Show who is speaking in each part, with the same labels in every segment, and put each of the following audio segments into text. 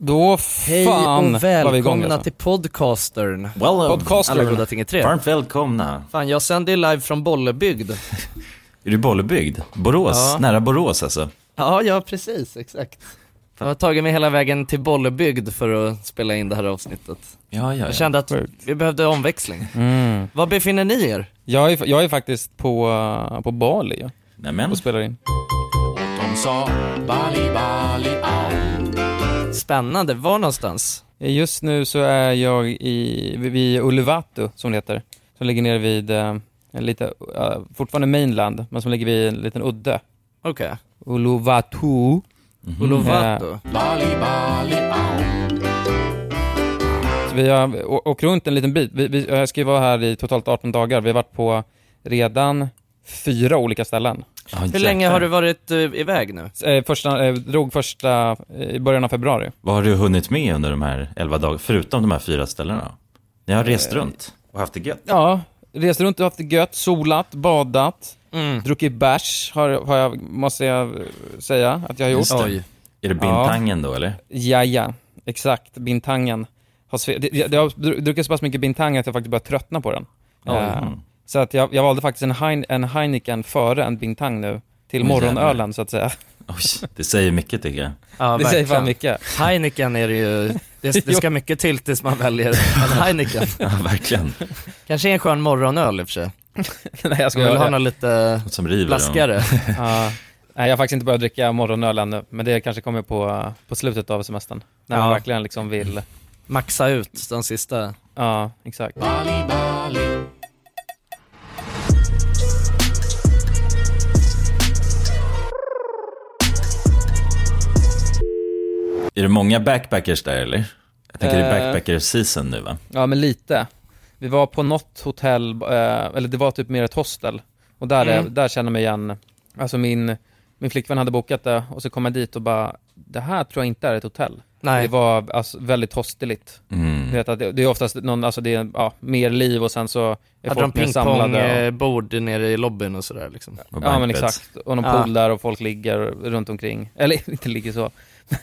Speaker 1: Då
Speaker 2: Hej
Speaker 1: fan var
Speaker 2: och
Speaker 1: vi igång
Speaker 2: välkomna
Speaker 1: alltså.
Speaker 2: till Podcastern.
Speaker 3: Well,
Speaker 1: Podcastern.
Speaker 2: Alla goda ting är tre.
Speaker 3: Varmt välkomna.
Speaker 2: Fan, jag sänder ju live från Bollebygd.
Speaker 3: Är du Bollebygd? Borås?
Speaker 2: Ja.
Speaker 3: Nära Borås alltså?
Speaker 2: Ja, ja precis, exakt. Jag har tagit mig hela vägen till Bollebygd för att spela in det här avsnittet.
Speaker 3: Ja, ja,
Speaker 2: Jag kände att
Speaker 1: Sjukt.
Speaker 2: vi behövde omväxling.
Speaker 1: Mm.
Speaker 2: Var befinner ni er?
Speaker 1: Jag, är, jag är faktiskt på, eh, på Bali ja,
Speaker 3: Nämen.
Speaker 1: och spelar in.
Speaker 4: De sa Bali Bali au
Speaker 2: Spännande, var någonstans?
Speaker 1: Just nu så är jag i, vid Uluvatu som det heter, som ligger nere vid, eh, en lite, eh, fortfarande mainland, men som ligger vid en liten udde.
Speaker 2: Okej,
Speaker 1: Uluvatu. Mhm.
Speaker 2: Olovato.
Speaker 4: Bali Bali au
Speaker 1: Så vi har å- åkt runt en liten bit. Vi, vi, jag ska ju vara här i totalt 18 dagar. Vi har varit på redan fyra olika ställen.
Speaker 3: Ja,
Speaker 2: Hur
Speaker 3: jäklar.
Speaker 2: länge har du varit eh, iväg nu?
Speaker 1: Eh, Första, eh, drog första eh, i början av februari.
Speaker 3: Vad har du hunnit med under de här elva dagarna, förutom de här fyra ställena? Ni har rest runt och haft det gött.
Speaker 1: Ja, rest runt och haft det gött, solat, badat, druckit bärs, har, har jag, måste jag eh, säga att jag har gjort.
Speaker 3: Just det.
Speaker 2: Oj.
Speaker 3: Är det bintangen då eller?
Speaker 1: Ja, ja, exakt. Bintangen. Har sve- det, jag, jag har dru- druckit så pass mycket bintang att jag faktiskt börjat tröttna på den. Eh,
Speaker 3: Mm.
Speaker 1: så att jag, jag valde faktiskt en, hein, en Heineken före en bintang nu, till
Speaker 3: Oj,
Speaker 1: morgonölen så att säga.
Speaker 3: Oj, det säger mycket tycker jag.
Speaker 2: Ja,
Speaker 1: Det säger fan
Speaker 2: verkligen.
Speaker 1: mycket.
Speaker 2: Heineken är det ju, det, det ska mycket till tills man väljer en Heineken.
Speaker 3: Ja, verkligen.
Speaker 2: Kanske en skön morgonöl i och för sig.
Speaker 1: Nej, jag
Speaker 2: Jag vill ha
Speaker 1: skojar.
Speaker 2: något lite
Speaker 3: Något som river. dem.
Speaker 2: blaskigare.
Speaker 1: Ja. Nej, jag har faktiskt inte börjat dricka morgonöl ännu, men det kanske kommer på, på slutet av semestern. När man
Speaker 2: Ja.
Speaker 1: verkligen liksom vill.
Speaker 2: Maxa ut de sista.
Speaker 1: Ja, exakt.
Speaker 4: Bali Bali
Speaker 3: Är det många backpackers där eller? Jag tänker det
Speaker 1: Eh.
Speaker 3: är backpacker season nu va?
Speaker 1: Ja, men lite. Vi var på något hotell, eh, eller det var typ mer ett hostel. Och där, är-
Speaker 2: Mm.
Speaker 1: där känner jag mig igen, alltså min, min flickvän hade bokat det och så kom jag dit och bara, det här tror jag inte är ett hotell.
Speaker 2: Nej.
Speaker 1: Det var alltså, väldigt hosteligt. Du
Speaker 3: Mm.
Speaker 1: vet att det, det är oftast någon, alltså det är ja, mer liv och sen så är
Speaker 2: Hade de eh,
Speaker 1: folk mer samlade. Och,
Speaker 2: pingpongbord nere i lobbyn och sådär liksom.
Speaker 3: Och
Speaker 1: ja men
Speaker 3: bankbeds.
Speaker 1: exakt, och någon
Speaker 2: Ja.
Speaker 1: pool där och folk ligger runt omkring. Eller inte ligger så,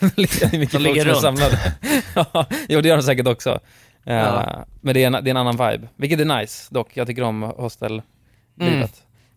Speaker 1: men det är mycket folk
Speaker 2: ligger
Speaker 1: som är
Speaker 2: runt.
Speaker 1: samlade. ja, jo det gör de säkert också. Eh,
Speaker 2: Ja.
Speaker 1: Men det är, en, det är en annan vibe, vilket är nice dock. Jag tycker om hostelllivet.
Speaker 2: Mm.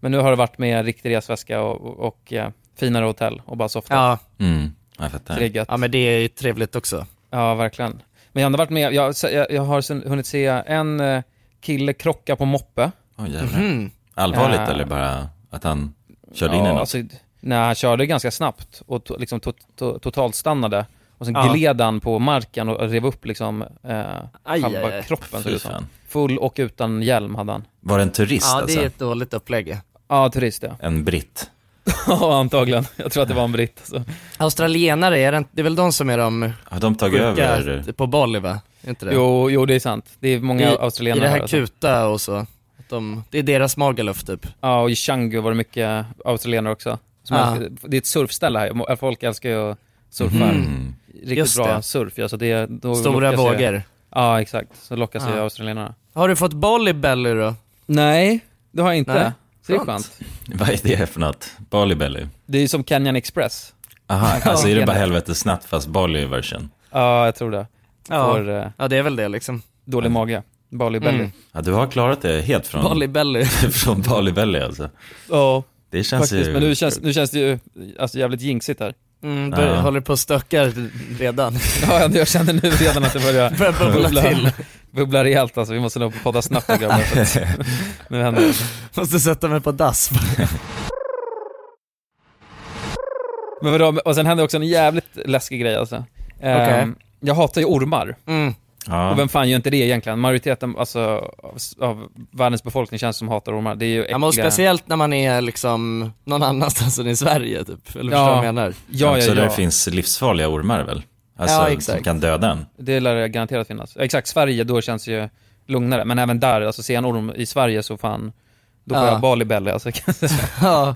Speaker 1: Men nu har det varit med en riktig resväska och, och, och eh, finare hotell och bara softa.
Speaker 2: Ja,
Speaker 3: Mm. Jag
Speaker 1: Så det
Speaker 3: fattar.
Speaker 1: är gött.
Speaker 2: ja men det är ju trevligt också.
Speaker 1: Ja, verkligen. Men jag har ändå varit med, jag, jag, jag har sen, hunnit se en eh, kille krocka på moppe.
Speaker 3: Oj, jävlar.
Speaker 2: Mm.
Speaker 3: Allvarligt
Speaker 1: Eh.
Speaker 3: eller bara att han körde in i
Speaker 1: Ja,
Speaker 3: något?
Speaker 1: alltså, Nej, han körde ganska snabbt och to, liksom to, to, totalstannade. Och sen
Speaker 2: Ja.
Speaker 1: gled han på marken och rev upp liksom eh,
Speaker 2: aj,
Speaker 1: halva
Speaker 2: aj.
Speaker 1: kroppen. Så
Speaker 3: Fy
Speaker 1: det sa.
Speaker 3: fan.
Speaker 1: Full och utan hjälm hade han.
Speaker 3: Var det en turist
Speaker 2: Ja det
Speaker 3: alltså?
Speaker 2: är ett dåligt upplägg.
Speaker 1: Ja, turist ja.
Speaker 3: En britt.
Speaker 1: Ja, antagligen. Jag tror att det var en britt. Alltså.
Speaker 2: Australienare, är det, inte- det är väl de som är de
Speaker 3: Har de tagit över?
Speaker 1: typ,
Speaker 2: sjuka på Bali va? Är inte det?
Speaker 1: Jo, jo, det är sant. Det är många
Speaker 2: I, I
Speaker 1: australienare.
Speaker 2: det här
Speaker 1: här, alltså.
Speaker 2: Kuta och så. Att De, det är deras Magaluf typ.
Speaker 1: Ja, och i Changu var det mycket australienare också. Som
Speaker 2: Ja.
Speaker 1: älskar, det är ett surfställe här. Folk älskar ju att surfa.
Speaker 3: Mm.
Speaker 1: Riktigt
Speaker 2: Just
Speaker 1: bra
Speaker 2: det.
Speaker 1: surf ja, så det, då
Speaker 2: Stora
Speaker 1: lockas ju-
Speaker 2: vågor.
Speaker 1: Ja, exakt. Så lockas ju
Speaker 2: Ja.
Speaker 1: australienarna.
Speaker 2: Har du fått Bali Belly då?
Speaker 1: Nej, det har jag inte.
Speaker 2: Nej.
Speaker 1: Så det är
Speaker 2: Skönt.
Speaker 1: skönt.
Speaker 3: Vad är det för något? Bali Belly?
Speaker 1: Det är ju som Canyon Express.
Speaker 3: Aha, alltså är
Speaker 1: Ja.
Speaker 3: det bara helvetesnatt fast Bali version?
Speaker 1: Ja, jag tror det.
Speaker 2: Ja.
Speaker 1: Får eh,
Speaker 2: ja, det är väl det liksom.
Speaker 3: Mm.
Speaker 1: dålig mage. Bali belly.
Speaker 2: Mm.
Speaker 3: Ja, du har klarat det helt från
Speaker 2: Bali
Speaker 3: Bali,
Speaker 2: Belly.
Speaker 3: från Bali Belly alltså.
Speaker 1: Ja,
Speaker 3: Det känns
Speaker 1: faktiskt.
Speaker 3: ju...
Speaker 1: Men nu känns, nu känns det ju alltså, jävligt jinxigt här.
Speaker 2: Mm,
Speaker 3: Ja.
Speaker 2: du håller på och stökar redan.
Speaker 1: Ja, jag känner nu redan att det börjar
Speaker 2: Börjar bubbla till.
Speaker 1: bubbla rejält alltså. Vi måste nog podda snabbt här, grabbar. för att- nu händer det.
Speaker 2: Måste sätta mig på dass.
Speaker 1: Men vadå, och sen hände också en jävligt läskig grej alltså. Ehm,
Speaker 2: Okej.
Speaker 1: Jag hatar ju ormar.
Speaker 2: Mm.
Speaker 3: ja.
Speaker 1: Och vem fan gör inte det egentligen? Majoriteten alltså, av, av världens befolkning känns som hatar ormar. Det är ju äckliga...
Speaker 2: Ja, men och speciellt när man är liksom någon annanstans än i Sverige typ. Eller förstår du
Speaker 1: Ja.
Speaker 2: vad jag menar?
Speaker 1: ja,
Speaker 3: Så
Speaker 1: ja,
Speaker 3: där
Speaker 1: ja.
Speaker 3: finns livsfarliga ormar väl? Alltså
Speaker 2: Ja, exakt.
Speaker 3: som kan döda en.
Speaker 1: Det lär det garanterat finnas. Exakt, Sverige, då känns det ju lugnare. Men även där, alltså ser jag en orm i Sverige så fan, då får
Speaker 2: Ja.
Speaker 1: jag Bali belly alltså.
Speaker 2: Ja.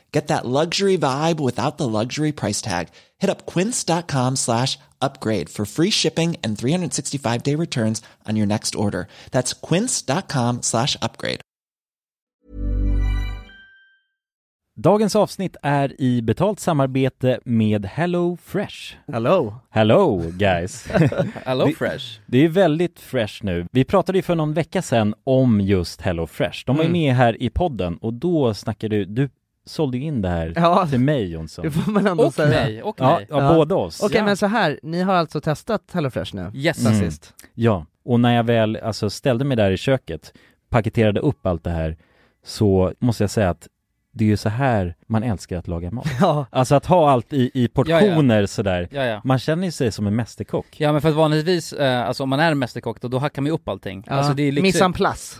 Speaker 5: Get that luxury vibe without the luxury price tag. Hit up quince.com slash upgrade for free shipping and 365 day returns on your next order. That's quince.com slash upgrade.
Speaker 3: Dagens avsnitt är i betalt samarbete med Hello Fresh.
Speaker 6: Hello!
Speaker 3: Hello guys!
Speaker 6: Hello
Speaker 3: Vi-
Speaker 6: Fresh!
Speaker 3: Det är väldigt fresh nu. Vi pratade ju för någon vecka sedan om just Hello Fresh. De var ju
Speaker 6: Mm.
Speaker 3: med här i podden och då snackade du, du sålde ju in det här
Speaker 7: Ja,
Speaker 3: till mig Jonsson.
Speaker 7: det får man ändå
Speaker 1: Och
Speaker 7: säga.
Speaker 1: mig, och
Speaker 3: Ja,
Speaker 1: mig.
Speaker 3: ja,
Speaker 7: Ja.
Speaker 3: båda oss.
Speaker 7: Okej,
Speaker 1: Ja.
Speaker 7: men så här, ni har alltså testat HelloFresh nu?
Speaker 1: Yes.
Speaker 7: Sen
Speaker 3: Mm.
Speaker 7: sist?
Speaker 3: Ja, och när jag väl alltså, ställde mig där i köket, paketerade upp allt det här, så måste jag säga att det är ju så här man älskar att laga mat.
Speaker 7: Ja.
Speaker 3: Alltså att ha allt i, i portioner sådär.
Speaker 1: Ja, ja.
Speaker 3: Man känner ju sig som en mästerkock.
Speaker 1: Ja men för att vanligtvis, eh, alltså om man är en mästerkock då, då hackar man ju upp allting.
Speaker 7: Ja.
Speaker 1: Alltså det är lyxigt.
Speaker 7: Mise en place.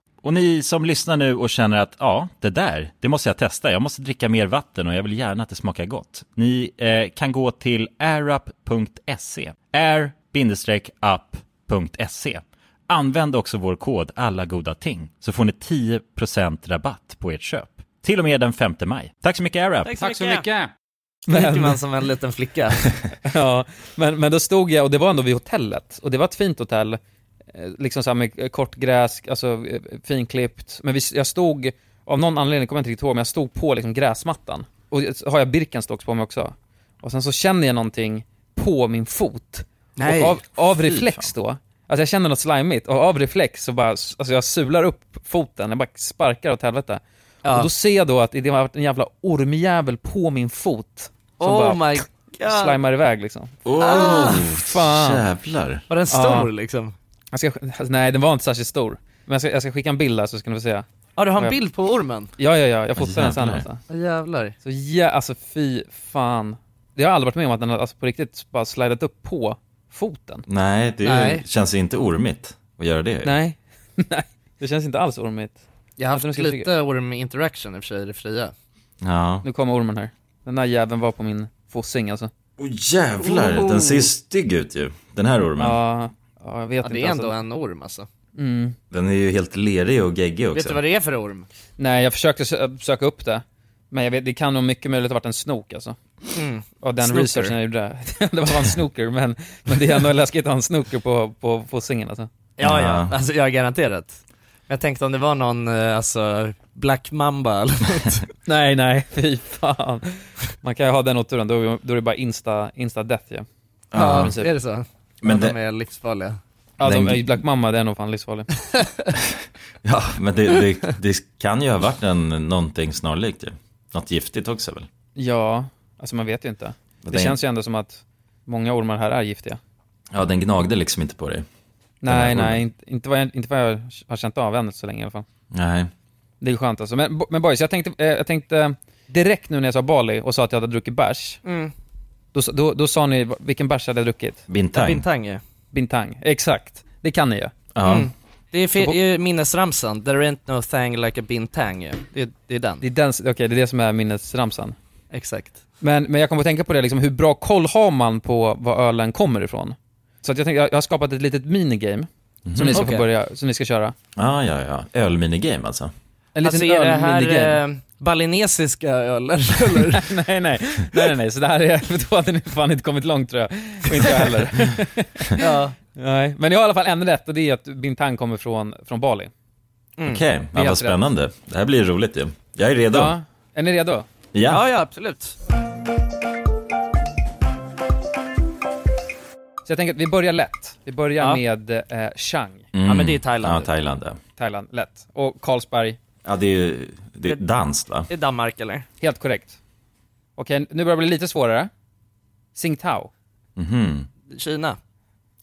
Speaker 8: Och ni som lyssnar nu och känner att ja, det där, det måste jag testa. Jag måste dricka mer vatten och jag vill gärna att det smakar gott. Ni eh, kan gå till airup.se. air-up.se. Använd också vår kod alla goda ting så får ni 10% rabatt på ert köp. Till och med den 5 maj. Tack så mycket AirUp!
Speaker 9: Tack så mycket!
Speaker 6: Dricker man som en liten flicka.
Speaker 1: Ja, men, men då stod jag, och det var ändå vid hotellet, och det var ett fint hotell, eh, liksom såhär med eh, kort gräs, alltså eh, finklippt, men vi, jag stod, av någon anledning kommer jag inte riktigt ihåg, men jag stod på liksom gräsmattan, och eh, så har jag Birkenstocks på mig också, och sen så känner jag någonting på min fot, och av, av reflex då, alltså jag känner något slimigt, och av reflex så bara, s- alltså jag sular upp foten, jag bara sparkar åt helvete, och då ser jag då att det har varit en jävla ormjävel på min fot, som bara
Speaker 6: Oh my
Speaker 1: ja. slimar iväg liksom.
Speaker 3: Åh,
Speaker 1: Ah,
Speaker 3: oh, jävlar.
Speaker 10: Var den stor
Speaker 1: Ja.
Speaker 10: liksom?
Speaker 1: Jag ska, alltså, nej, den var inte särskilt stor. Men jag ska, jag ska skicka en bild där så ska ni få se.
Speaker 10: Ja, du har en
Speaker 1: Jag-
Speaker 10: bild på ormen?
Speaker 1: Ja, ja, ja, jag fotade den sen
Speaker 3: Jävlar.
Speaker 1: alltså.
Speaker 10: Ja, jävlar.
Speaker 1: Så ja, alltså fy fan. Jag har aldrig varit med om att den har alltså, på riktigt bara slidat upp på foten.
Speaker 3: Nej, det
Speaker 10: Nej.
Speaker 3: känns inte ormigt att göra det.
Speaker 1: Nej, nej, det känns inte alls ormigt.
Speaker 10: Jag har
Speaker 1: Vänta, nu
Speaker 10: haft
Speaker 1: ska jag
Speaker 10: lite orm interaction i och för sig, i det fria.
Speaker 3: Ja.
Speaker 1: Nu kommer ormen här. Den där jäveln var på min fossing alltså.
Speaker 3: Åh jävlar, den ser ju stygg ut ju. Den här ormen.
Speaker 1: Ja, ja, jag vet
Speaker 10: Ja, det
Speaker 1: inte
Speaker 10: är ändå
Speaker 1: alltså.
Speaker 10: en orm alltså.
Speaker 1: Mm.
Speaker 3: Den är ju helt lerig och geggig
Speaker 10: Vet du
Speaker 3: också.
Speaker 10: vad det är för orm?
Speaker 1: Nej, jag försökte sö- söka upp det. Men jag vet, det kan nog mycket möjligt ha varit en snok alltså.
Speaker 10: Mm.
Speaker 1: Av den
Speaker 10: Snooker.
Speaker 1: researchen jag gjorde. det var en snooker, men, men det är ändå läskigt att ha en snooker på, på fossingen alltså.
Speaker 10: Ja, ja,
Speaker 3: Ja.
Speaker 10: alltså jag har garanterat. Jag tänkte om det var någon, eh, alltså, black mamba eller något.
Speaker 1: Nej, nej, fy fan. Man kan ju ha den oturen, då, då är det bara insta, insta death ju. Ja,
Speaker 10: ja,
Speaker 1: i princip.
Speaker 10: är det så?
Speaker 3: Men
Speaker 10: Men ja,
Speaker 3: det-
Speaker 10: de är livsfarliga.
Speaker 1: de,
Speaker 3: Den-
Speaker 1: Alltså, eh, Black Mamma, det är nog fan livsfarlig.
Speaker 3: Ja, men det, det, det kan ju ha varit en, någonting snarlikt ju. Något giftigt också väl?
Speaker 1: Ja, alltså man vet ju inte. Det
Speaker 3: den,
Speaker 1: känns ju ändå som att många ormar här är giftiga.
Speaker 3: Ja, den gnagde liksom inte på dig.
Speaker 1: Nej,
Speaker 3: ormen.
Speaker 1: nej, inte, inte, vad jag, inte vad jag har känt av än så länge i alla fall.
Speaker 3: Nej.
Speaker 1: Det är skönt alltså. Men, men boys, jag tänkte, eh, jag tänkte direkt nu när jag sa Bali och sa att jag hade druckit bärs,
Speaker 10: Mm.
Speaker 1: då, sa- då, då sa ni vilken bärs hade jag druckit?
Speaker 3: Bintang.
Speaker 10: Bintang ju.
Speaker 1: Bintang. Exakt, det kan ni ju.
Speaker 3: Ja.
Speaker 10: Mm. Det är
Speaker 1: Så
Speaker 10: fi-
Speaker 1: på-
Speaker 10: ju minnesramsan, there ain't no thing like a bintang ju. Det, är- det är den,
Speaker 1: Det är, den, okej, det är det som är minnesramsan.
Speaker 10: exakt.
Speaker 1: Men, men jag kom att tänka på det, liksom, hur bra koll har man på var ölen kommer ifrån? Så att jag, tänkte, jag jag har skapat ett litet minigame som ni
Speaker 10: Mhm.
Speaker 1: ska
Speaker 10: Okej.
Speaker 1: få börja, som ni ska köra.
Speaker 3: Ja, ja, ja. Ölminigame alltså.
Speaker 1: En
Speaker 10: Alltså
Speaker 1: liten
Speaker 10: är det
Speaker 1: öl-minigame.
Speaker 10: här eh, balinesiska öler eller?
Speaker 1: nej, nej, nej, nej, nej, så det här är, för då hade ni fan inte kommit långt tror jag. Och inte jag heller.
Speaker 10: ja.
Speaker 1: nej. Men jag har i alla fall en rätt och det är att bintang kommer från, från Bali.
Speaker 10: Mm.
Speaker 3: Okej, ja, vad
Speaker 1: rätt.
Speaker 3: spännande. Det här blir roligt ju. Jag är redo. Ja.
Speaker 1: Ja. Är ni redo?
Speaker 10: ja, ja absolut.
Speaker 1: Så jag tänker att vi börjar lätt. Vi börjar
Speaker 10: Ja.
Speaker 1: med eh, Chang,
Speaker 3: Mm.
Speaker 10: Ja, men det är Thailand.
Speaker 3: Ja, Thailand. Ja,
Speaker 1: Thailand, lätt. Och Carlsberg,
Speaker 3: ja det är ju det är danskt va?
Speaker 10: Det är Danmark eller?
Speaker 1: helt korrekt. Okej, nu börjar det bli lite svårare. Tsingtao.
Speaker 3: Mhm.
Speaker 10: Kina.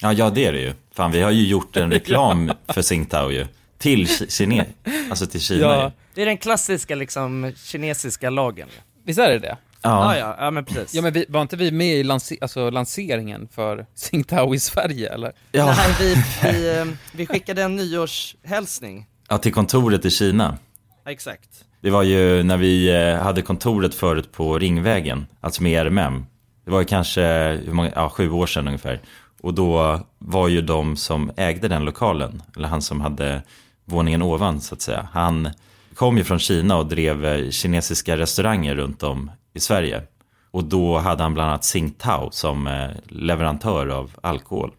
Speaker 3: Ja, ja, det är det ju. Fan, vi har ju gjort en reklam för Tsingtao ju. Till Ki- Kina, alltså till Kina
Speaker 1: Ja.
Speaker 3: ju.
Speaker 10: Det är den klassiska liksom kinesiska lagen.
Speaker 1: Visst är det det?
Speaker 10: Ja,
Speaker 3: Ja,
Speaker 10: ja, ja men precis.
Speaker 1: Ja men vi, var inte vi med i lanse- alltså, lanseringen för Tsingtao i Sverige eller?
Speaker 3: ja.
Speaker 10: Nej, vi, vi, eh, vi skickade en nyårshälsning.
Speaker 3: ja till kontoret i Kina.
Speaker 10: Ja, exakt.
Speaker 3: Det var ju när vi eh, hade kontoret förut på Ringvägen, alltså med RMM. Det var ju kanske eh, hur många, ja, sju år sedan ungefär. Och då var ju de som ägde den lokalen, eller han som hade våningen ovan så att säga. Han kom ju från Kina och drev eh, kinesiska restauranger runt om i Sverige. Och då hade han bland annat Tsingtao som eh, leverantör av alkohol.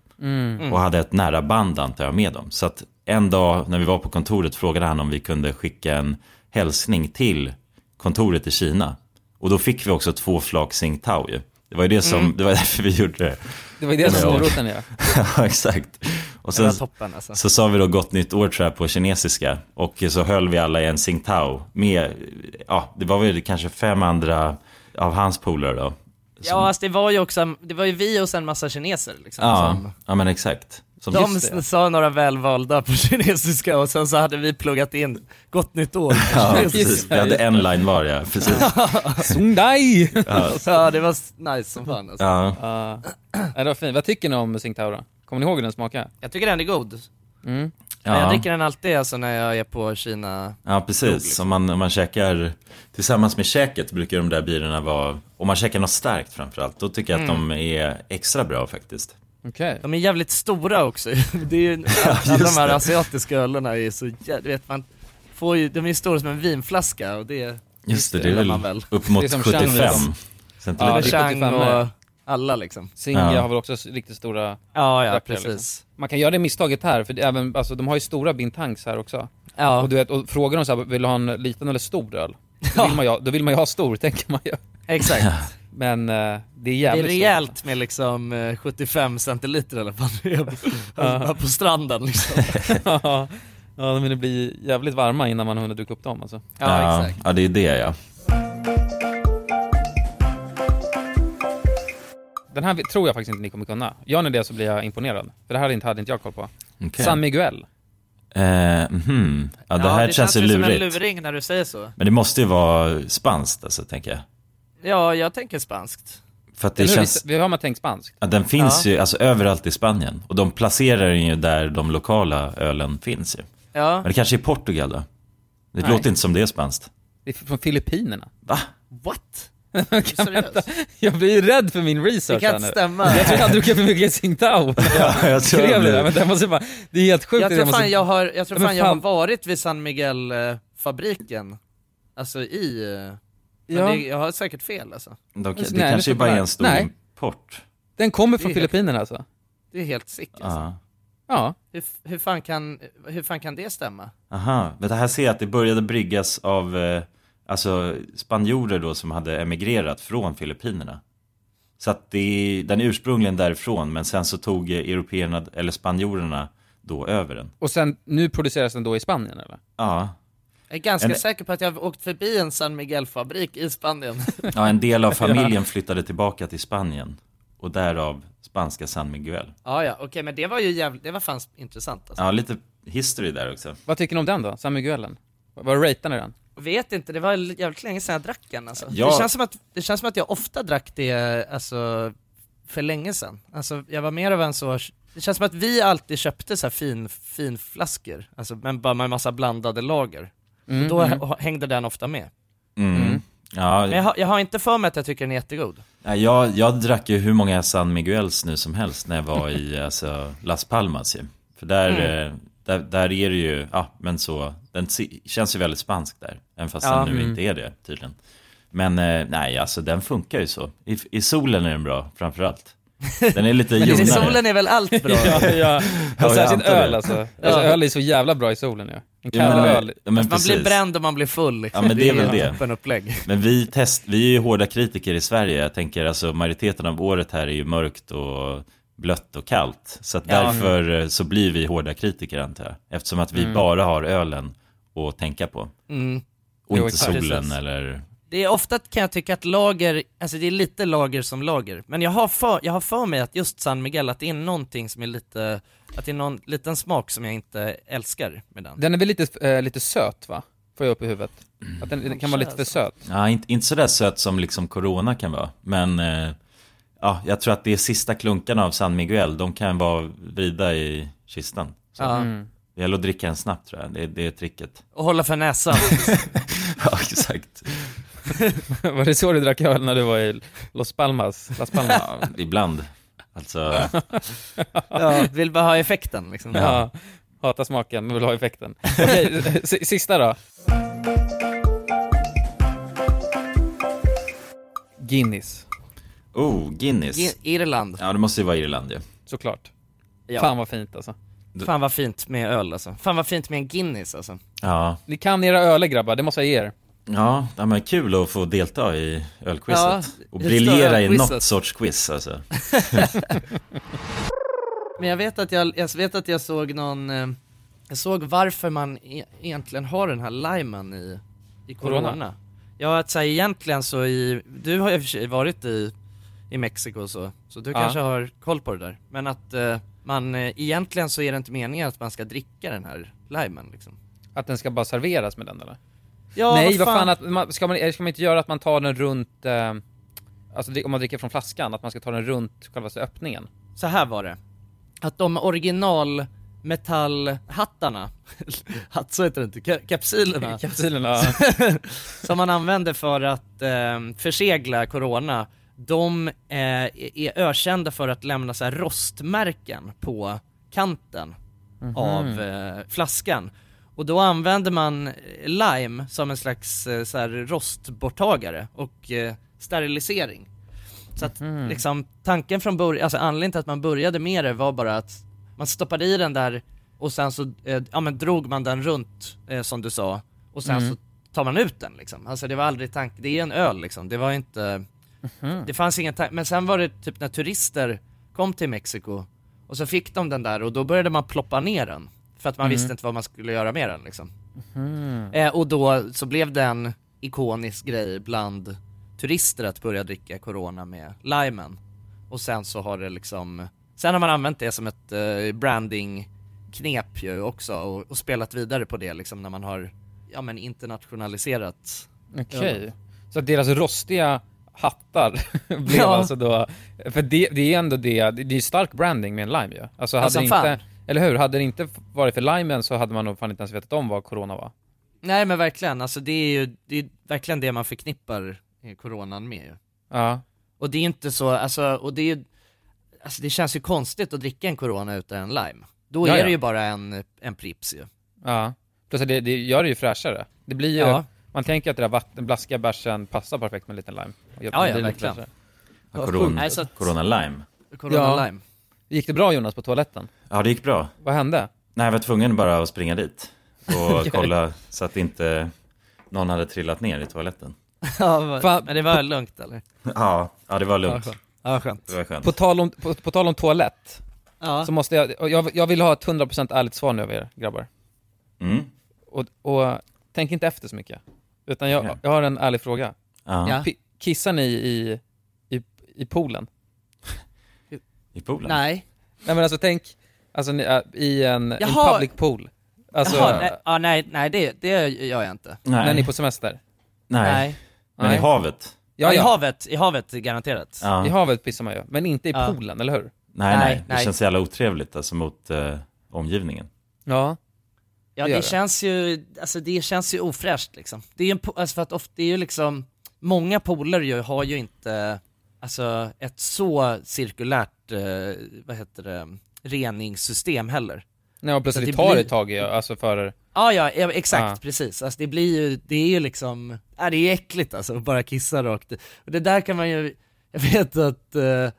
Speaker 3: Och hade ett nära band antar jag med dem. Så att en dag när vi var på kontoret frågade han om vi kunde skicka en hälsning till kontoret i Kina. Och då fick vi också två flak Tsingtao ju. Det var ju det som, det var därför vi gjorde det.
Speaker 1: Det var ju det som
Speaker 3: Ja.
Speaker 1: moroten ja.
Speaker 3: ja, exakt. Och
Speaker 10: Det
Speaker 3: sen
Speaker 10: var toppen alltså.
Speaker 3: så sa vi då gott nytt år tror jag på kinesiska. Och så höll vi alla i en Tsingtao med, ja det var väl kanske fem andra av hans polare då.
Speaker 10: Ja, alltså, det var ju också, det var ju vi och sen massa kineser liksom.
Speaker 3: Ja,
Speaker 10: som-
Speaker 3: ja men exakt. Som
Speaker 10: De s- sa några välvalda på kinesiska och sen så hade vi pluggat in gott nytt år.
Speaker 3: Ja, precis. Vi hade en line var, ja. Precis.
Speaker 1: Tsungdai!
Speaker 10: Ja, det var s- nice som fan alltså.
Speaker 3: Ja.
Speaker 1: Ja, det var fint. Vad tycker ni om Tsingtao då? Kommer ni ihåg hur den smakar?
Speaker 10: Jag tycker den är god.
Speaker 1: Mm.
Speaker 10: Ja. Jag
Speaker 3: Ja.
Speaker 10: dricker den alltid alltså när jag är på Kina.
Speaker 3: ja, precis. Om man, om man käkar tillsammans med käket brukar de där birorna vara, om man käkar något starkt framförallt, då tycker jag att de är extra bra faktiskt.
Speaker 1: Okej.
Speaker 10: De är jävligt stora också. Det är ju, alla de
Speaker 3: just
Speaker 10: här
Speaker 3: det.
Speaker 10: asiatiska ölerna är så jä- du vet man får ju, de är ju stora som en vinflaska och det är
Speaker 3: Just det, det
Speaker 10: det gillar
Speaker 3: är väl
Speaker 10: man väl.
Speaker 3: upp
Speaker 1: Det är
Speaker 3: mot
Speaker 1: som
Speaker 3: 75
Speaker 1: Chandler's.
Speaker 10: det
Speaker 1: Ja,
Speaker 10: var
Speaker 3: centiliter.
Speaker 1: det är
Speaker 10: Chang
Speaker 1: 75
Speaker 10: och
Speaker 1: med.
Speaker 10: alla liksom.
Speaker 1: Singa
Speaker 3: Ja.
Speaker 1: har väl också s- riktigt stora...
Speaker 10: Ja,
Speaker 1: ja,
Speaker 10: ja
Speaker 1: precis.
Speaker 10: precis.
Speaker 2: liksom.
Speaker 1: Man kan göra det misstaget här, för det är även, alltså, de har ju stora bintangs här också.
Speaker 10: Ja.
Speaker 1: Och, du vet, och frågar de så här, vill du ha en liten eller stor öl? Då
Speaker 10: Ja.
Speaker 1: vill man ju, ha- då vill man ju ha stor, tänker man ju.
Speaker 10: Exakt.
Speaker 1: Men eh, det är
Speaker 10: Det
Speaker 1: jävligt
Speaker 10: är rejält med liksom eh, 75 centiliter i alla fall. Bara på stranden liksom.
Speaker 1: svårt. ja, men det blir jävligt varma innan man har hunnit duka upp dem alltså.
Speaker 10: Ja,
Speaker 3: Ja,
Speaker 10: exakt.
Speaker 3: ja, det är det ja.
Speaker 1: Den här tror jag faktiskt inte ni kommer kunna. Gör ni det så blir jag imponerad. För det här hade inte, hade inte jag koll på.
Speaker 3: Okej.
Speaker 1: San Miguel.
Speaker 3: Eh, mhm. ja, det
Speaker 2: Ja,
Speaker 3: här
Speaker 2: det
Speaker 3: känns ju
Speaker 2: känns ju som en
Speaker 3: lurigt.
Speaker 2: luring när du säger så.
Speaker 3: Men det måste ju vara spanskt alltså, tänker jag.
Speaker 2: Ja, jag tänker spanskt.
Speaker 3: För att det
Speaker 1: Eller hur?
Speaker 3: känns...
Speaker 1: Vi, vi har man tänkt spanskt.
Speaker 3: Ja, den finns
Speaker 2: Ja.
Speaker 3: ju alltså, överallt i Spanien. Och de placerar den ju där de lokala ölen finns ju.
Speaker 2: Ja.
Speaker 3: Men det kanske är Portugal då? Det
Speaker 1: Nej.
Speaker 3: låter inte som det är spanskt.
Speaker 1: Det är från Filippinerna.
Speaker 3: Va?
Speaker 2: What?
Speaker 1: Jag blir ju rädd för min research
Speaker 2: Det kan
Speaker 1: här nu.
Speaker 2: stämma.
Speaker 1: Jag tror jag druckit för mycket Tsingtao.
Speaker 3: jag tror jag
Speaker 1: skrev det
Speaker 3: blir-
Speaker 1: där, men det, måste bara, det är helt sjukt.
Speaker 2: Jag
Speaker 1: det
Speaker 2: tror
Speaker 1: måste-
Speaker 2: fan jag har, jag, tror
Speaker 1: Men
Speaker 2: fan jag har varit vid San Miguel-fabriken. Alltså i... eh, Men
Speaker 1: Ja.
Speaker 2: det, jag har säkert fel alltså.
Speaker 3: De, det
Speaker 1: Nej,
Speaker 3: kanske är bara
Speaker 1: det står
Speaker 3: är
Speaker 1: där.
Speaker 3: en stor
Speaker 1: Nej.
Speaker 3: import.
Speaker 1: Den kommer
Speaker 2: Det är
Speaker 1: från
Speaker 2: helt-
Speaker 1: Filippinerna alltså?
Speaker 2: Det är helt sick alltså.
Speaker 3: Ja.
Speaker 1: Ja.
Speaker 2: Hur, f- hur, fan kan, hur fan kan det stämma?
Speaker 3: Aha, men det här ser jag att det började bryggas av eh, alltså, spanjorer då som hade emigrerat från Filippinerna. Så att det är, den är ursprungligen därifrån, men sen så tog eh, européerna, eller spanjorerna, då över den.
Speaker 1: Och sen, nu produceras den då i Spanien eller?
Speaker 3: Ja,
Speaker 2: Jag är ganska
Speaker 3: En-
Speaker 2: säker på att jag har åkt förbi en San Miguel-fabrik i Spanien.
Speaker 3: ja en del av familjen flyttade tillbaka till Spanien och därav spanska San Miguel.
Speaker 2: ja, ja, okej, men det var ju jävligt, det var fan intressant alltså.
Speaker 3: Ja, lite history där också.
Speaker 1: Vad tycker ni om den då? San Miguelen? Vad- Vad ratear ni den?
Speaker 2: Vet inte, det var jävligt länge sedan jag drack den alltså.
Speaker 3: Ja.
Speaker 2: Det, känns som att, det känns som att jag ofta drack det alltså, för länge sedan. Alltså, jag var mer av en så, det känns som att vi alltid köpte så här fin, fin flaskor, alltså, men bara med en massa blandade lager.
Speaker 1: Mm,
Speaker 2: Och då
Speaker 1: mm.
Speaker 2: h- hängde den ofta med.
Speaker 3: Mm.
Speaker 1: Mm.
Speaker 3: Ja,
Speaker 2: Men jag, har- jag har inte för mig att jag tycker den är jättegod.
Speaker 3: Ja, jag, jag drack ju hur många San Miguels nu som helst när jag var i alltså, Las Palmas ju. För där,
Speaker 2: Mm.
Speaker 3: eh, där, där är det ju, ja men så, den se- känns ju väldigt spansk där. Även fast
Speaker 2: Ja.
Speaker 3: den nu
Speaker 1: Mm.
Speaker 3: inte är det tydligen. Men eh, nej, alltså den funkar ju så. I, I solen är den bra framförallt. Den är lite
Speaker 2: Men i
Speaker 3: ljumnare.
Speaker 2: solen är väl allt bra?
Speaker 1: ja, ja.
Speaker 3: jag
Speaker 1: Och särskilt
Speaker 3: antar det.
Speaker 1: öl alltså. alltså. Öl är så jävla bra i solen ju. En
Speaker 3: Ja,
Speaker 1: kall
Speaker 3: men-
Speaker 1: öl.
Speaker 3: ja, men
Speaker 2: man blir
Speaker 3: precis.
Speaker 2: bränd och man blir full. liksom.
Speaker 3: Ja, men det är väl
Speaker 2: ju
Speaker 3: det.
Speaker 2: öppenupplägg.
Speaker 3: Men vi, test, vi är ju hårda kritiker i Sverige. Jag tänker alltså majoriteten av året här är ju mörkt och blött och kallt. Så att
Speaker 1: Ja.
Speaker 3: därför eh, så blir vi hårda kritiker antar jag. Eftersom att vi
Speaker 1: Mm.
Speaker 3: bara har ölen att tänka på.
Speaker 2: Mm.
Speaker 3: Och
Speaker 1: Jo,
Speaker 3: inte
Speaker 1: exakt.
Speaker 3: solen
Speaker 2: Precis.
Speaker 3: eller...
Speaker 2: Det är ofta kan jag tycka att lager, alltså det är lite lager som lager, men jag har för, jag har för mig att just San Miguel, att det är någonting som är lite, att det är någon liten smak som jag inte älskar med den.
Speaker 1: Den är väl lite, eh, lite söt va? Får jag upp i huvudet. Att den, den kan vara lite för söt.
Speaker 3: Ja, inte, inte sådär söt som liksom corona kan vara. Men eh, ja, jag tror att det är sista klunkarna av San Miguel. De kan vara vrida i kistan. Så
Speaker 2: Ja.
Speaker 1: Mm.
Speaker 3: Det gäller att dricka den snabbt tror jag. Det, det är tricket.
Speaker 2: Och hålla för näsan.
Speaker 3: ja, exakt.
Speaker 1: var det så du drack öl när du var i Los Palmas? Las Palmas?
Speaker 3: Ja, ibland. Alltså...
Speaker 2: ja, vill bara ha effekten liksom.
Speaker 1: Ja. Hatar smaken men vill ha effekten. Okej, s- sista då. Guinness,
Speaker 3: Oh, Guinness.
Speaker 2: I, Irland.
Speaker 3: ja, det måste ju vara Irland ju.
Speaker 1: såklart.
Speaker 2: Ja.
Speaker 1: Fan vad fint alltså.
Speaker 2: Fan vad fint med öl alltså. Fan vad fint med en Guinness alltså.
Speaker 3: Ja.
Speaker 1: Ni kan era öler grabbar, det måste jag ge er.
Speaker 3: Ja, ja, men kul att få delta i ölquizet.
Speaker 2: Ja,
Speaker 3: och
Speaker 2: det
Speaker 3: briljera
Speaker 2: stora
Speaker 3: i
Speaker 2: quizet.
Speaker 3: något sorts quiz alltså.
Speaker 2: Men jag vet att jag, jag vet att jag såg någon, eh, jag såg varför man e- egentligen har den här limen i, i corona.
Speaker 1: Corona.
Speaker 2: Ja att säga egentligen så i, du har ju i och för sig varit i, i Mexiko och så, så du
Speaker 1: Ja.
Speaker 2: kanske har koll på det där. Men att eh, man, eh, egentligen så är det inte meningen att man ska dricka den här limen liksom.
Speaker 1: Att den ska bara serveras med den eller?
Speaker 2: Ja,
Speaker 1: Nej vad fan, att man, ska, man, eller ska man inte göra att man tar den runt, eh, alltså dri- om man dricker från flaskan, att man ska ta den runt själva öppningen?
Speaker 2: så här var det. Att de original metallhattarna, hatt så heter det inte, ka- kapsylerna.
Speaker 1: Kapsylerna,
Speaker 2: som man använder för att eh, försegla corona, de eh, är är ökända för att lämna så här rostmärken på kanten av eh, flaskan. Och då använder man eh, lime som en slags eh, så här rostborttagare och eh, sterilisering. Så att liksom tanken från början, alltså anledningen till att man började med det var bara att man stoppade i den där och sen så eh, ja, men drog man den runt eh, som du sa och sen så tar man ut den liksom. Alltså det var aldrig tanken, det är en öl liksom, det var inte, det fanns ingen tanke, men sen var det typ när turister kom till Mexiko och så fick de den där och då började man ploppa ner den för att man visste inte vad man skulle göra med den liksom. Eh, och då så blev det en ikonisk grej bland turister att börja dricka corona med limen. och sen så har det liksom, sen har man använt det som ett eh, branding-knep ju också och, och spelat vidare på det liksom när man har, ja men internationaliserat.
Speaker 1: Okej. Så att deras rostiga hattar blev
Speaker 2: Ja.
Speaker 1: alltså då, för det, det är ändå det, det är stark branding med en lime ju. Alltså hade
Speaker 2: Alltså,
Speaker 1: det
Speaker 2: fan.
Speaker 1: inte, eller hur? Hade det inte varit för limen så hade man nog fan inte ens vetat om vad corona var.
Speaker 2: Nej men verkligen, alltså det är ju, det är verkligen det man förknippar eh, coronan med ju.
Speaker 1: Ja.
Speaker 2: Och det är inte så, alltså, och det är ju, alltså det känns ju konstigt att dricka en Corona utan en lime. Då
Speaker 1: Ja,
Speaker 2: är
Speaker 1: ja.
Speaker 2: det ju bara en, en Pripps ju.
Speaker 1: Ja. Plus att det, det gör det ju fräschare. Det blir ju,
Speaker 2: Ja.
Speaker 1: man tänker att det där vatten, blaska bärsen passar perfekt med en liten lime. Och gör-
Speaker 2: Ja,
Speaker 1: det
Speaker 2: ja,
Speaker 1: blir lite
Speaker 2: verkligen.
Speaker 1: fräschare.
Speaker 3: Ja, corona,
Speaker 1: Nej, så att-
Speaker 3: corona lime.
Speaker 2: Corona lime.
Speaker 1: Gick det bra Jonas på toaletten?
Speaker 3: Ja, det gick bra.
Speaker 1: Vad hände?
Speaker 3: Nej, jag var tvungen bara att springa dit
Speaker 1: Ja.
Speaker 3: och kolla så att inte någon hade trillat ner i toaletten.
Speaker 2: Ja, va-
Speaker 1: Fan.
Speaker 2: men det var lugnt eller?
Speaker 3: Ja, ja det var lugnt.
Speaker 1: Ja, skönt.
Speaker 2: Ja, skönt.
Speaker 3: Det var skönt.
Speaker 1: På tal om, på, på tal om toalett,
Speaker 2: Ja.
Speaker 1: så måste jag, och jag, jag vill ha ett 100% ärligt svar nu av er grabbar.
Speaker 3: Mm.
Speaker 1: Och, och tänk inte efter så mycket, utan jag, jag har en ärlig fråga.
Speaker 3: Ja. Ja.
Speaker 1: P- kissar ni i, i, i poolen?
Speaker 3: I poolen?
Speaker 2: Nej.
Speaker 1: Nej men alltså tänk, alltså ni, äh, i en, en
Speaker 2: Jaha.
Speaker 1: public pool. Alltså,
Speaker 2: Jaha, nej, ja, nej, nej det, det gör jag inte.
Speaker 3: Nej.
Speaker 1: när ni är på semester.
Speaker 3: Nej.
Speaker 2: Nej.
Speaker 3: Men
Speaker 1: Nej.
Speaker 3: i havet?
Speaker 2: Ja,
Speaker 1: Ja,
Speaker 2: I
Speaker 1: ja.
Speaker 2: havet, i havet garanterat.
Speaker 3: Ja.
Speaker 1: I havet pissar man ju, men inte i
Speaker 2: Ja.
Speaker 1: poolen, eller hur?
Speaker 3: Nej, nej,
Speaker 2: Nej,
Speaker 3: Det
Speaker 2: nej.
Speaker 3: känns så jävla otrevligt alltså mot eh, omgivningen.
Speaker 1: Ja.
Speaker 2: Ja
Speaker 1: gör
Speaker 2: det känns ju, alltså det känns ju ofräscht liksom. Det är ju en, po- alltså för att ofta, det är ju liksom, många poler ju har ju inte, alltså ett så cirkulärt, eh, vad heter det, reningssystem heller.
Speaker 1: Nej, och
Speaker 2: Så
Speaker 1: plötsligt
Speaker 2: det
Speaker 1: tar det
Speaker 2: blir-
Speaker 1: ett tag i, alltså för...
Speaker 2: Ja, ja, ja exakt,
Speaker 1: Ja.
Speaker 2: precis. Alltså det blir ju, det är ju liksom, ja, det är ju äckligt alltså att bara kissa rakt i. Och det där kan man ju, jag vet att, eh,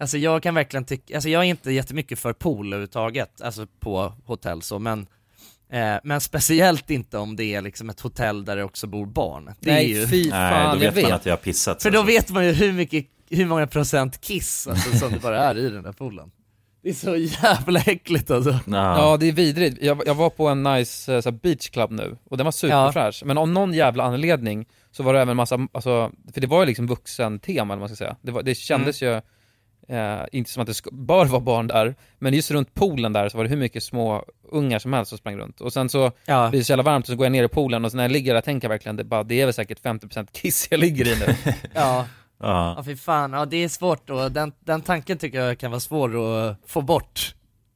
Speaker 2: alltså jag kan verkligen tycka, alltså jag är inte jättemycket för pool överhuvudtaget, alltså på hotell så, men eh, men speciellt inte om det är liksom ett hotell där det också bor barn. Det
Speaker 1: Nej,
Speaker 2: är ju...
Speaker 1: fy
Speaker 3: nej,
Speaker 1: fan,
Speaker 3: då vet
Speaker 1: jag
Speaker 3: man
Speaker 1: vet.
Speaker 3: att jag har pissat.
Speaker 2: För då
Speaker 3: alltså.
Speaker 2: vet man ju hur mycket, hur många procent kiss alltså, som det bara är i den där poolen. Det är så jävla äckligt alltså.
Speaker 1: Ja, det är vidrigt. Jag, jag var på en nice eh, så här, beach club nu och den var superfräsch. Men av någon jävla anledning så var det även massa, alltså, för det var ju liksom vuxentema eller vad man ska säga. Det, var, det kändes
Speaker 2: Mm.
Speaker 1: ju eh, inte som att det sk- bör vara barn där, men just runt poolen där så var det hur mycket små ungar som helst som sprang runt. Och sen så
Speaker 2: Ja.
Speaker 1: blir det så jävla varmt och så går jag ner i poolen och så när jag ligger där tänker jag verkligen det, är bara, det är väl säkert 50% kiss jag ligger i nu.
Speaker 2: Ja.
Speaker 3: Ja.
Speaker 2: Ja fy fan, ja det är svårt och den, den tanken tycker jag kan vara svår att få bort.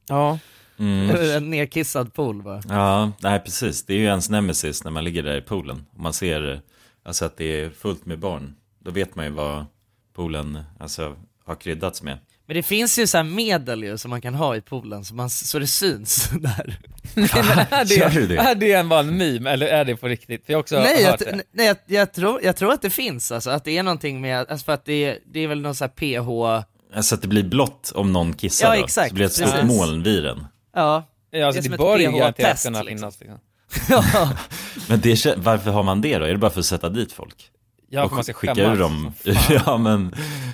Speaker 1: ja.
Speaker 3: Mm.
Speaker 2: En nerkissad pool bara.
Speaker 3: Ja, nej precis. Det är ju ens nemesis när man ligger där i poolen. Om man ser eh, alltså, att det är fullt med barn, då vet man ju vad poolen alltså, har kryddats med.
Speaker 2: Men det finns ju så här medel ju som man kan ha i poolen så, man, så det syns där.
Speaker 1: är,
Speaker 3: Gör du
Speaker 1: det,
Speaker 3: det?
Speaker 1: är det bara en meme eller är det på riktigt? För jag har också
Speaker 2: Nej, jag,
Speaker 1: hört
Speaker 2: t-
Speaker 1: det.
Speaker 2: nej jag, jag, tror, jag tror att det finns alltså, att det är någonting med, alltså för att det, är- det är väl någon så här PH,
Speaker 3: Alltså att det blir blått om någon kissar
Speaker 2: Ja,
Speaker 3: då.
Speaker 2: exakt,
Speaker 3: Så blir det ett stort
Speaker 2: precis.
Speaker 3: moln vid den.
Speaker 2: ja.
Speaker 1: Ja, alltså,
Speaker 2: det är
Speaker 1: det,
Speaker 2: som ett
Speaker 1: bör ju garanterat
Speaker 2: PH-test,
Speaker 1: kunna
Speaker 2: liksom.
Speaker 1: finnas. Liksom.
Speaker 3: Men det, kän- varför har man det då? Är det bara för att sätta dit folk?
Speaker 1: Ja,
Speaker 3: och
Speaker 1: för man ska
Speaker 3: skicka
Speaker 1: skämmas.
Speaker 3: ur dem? ja, men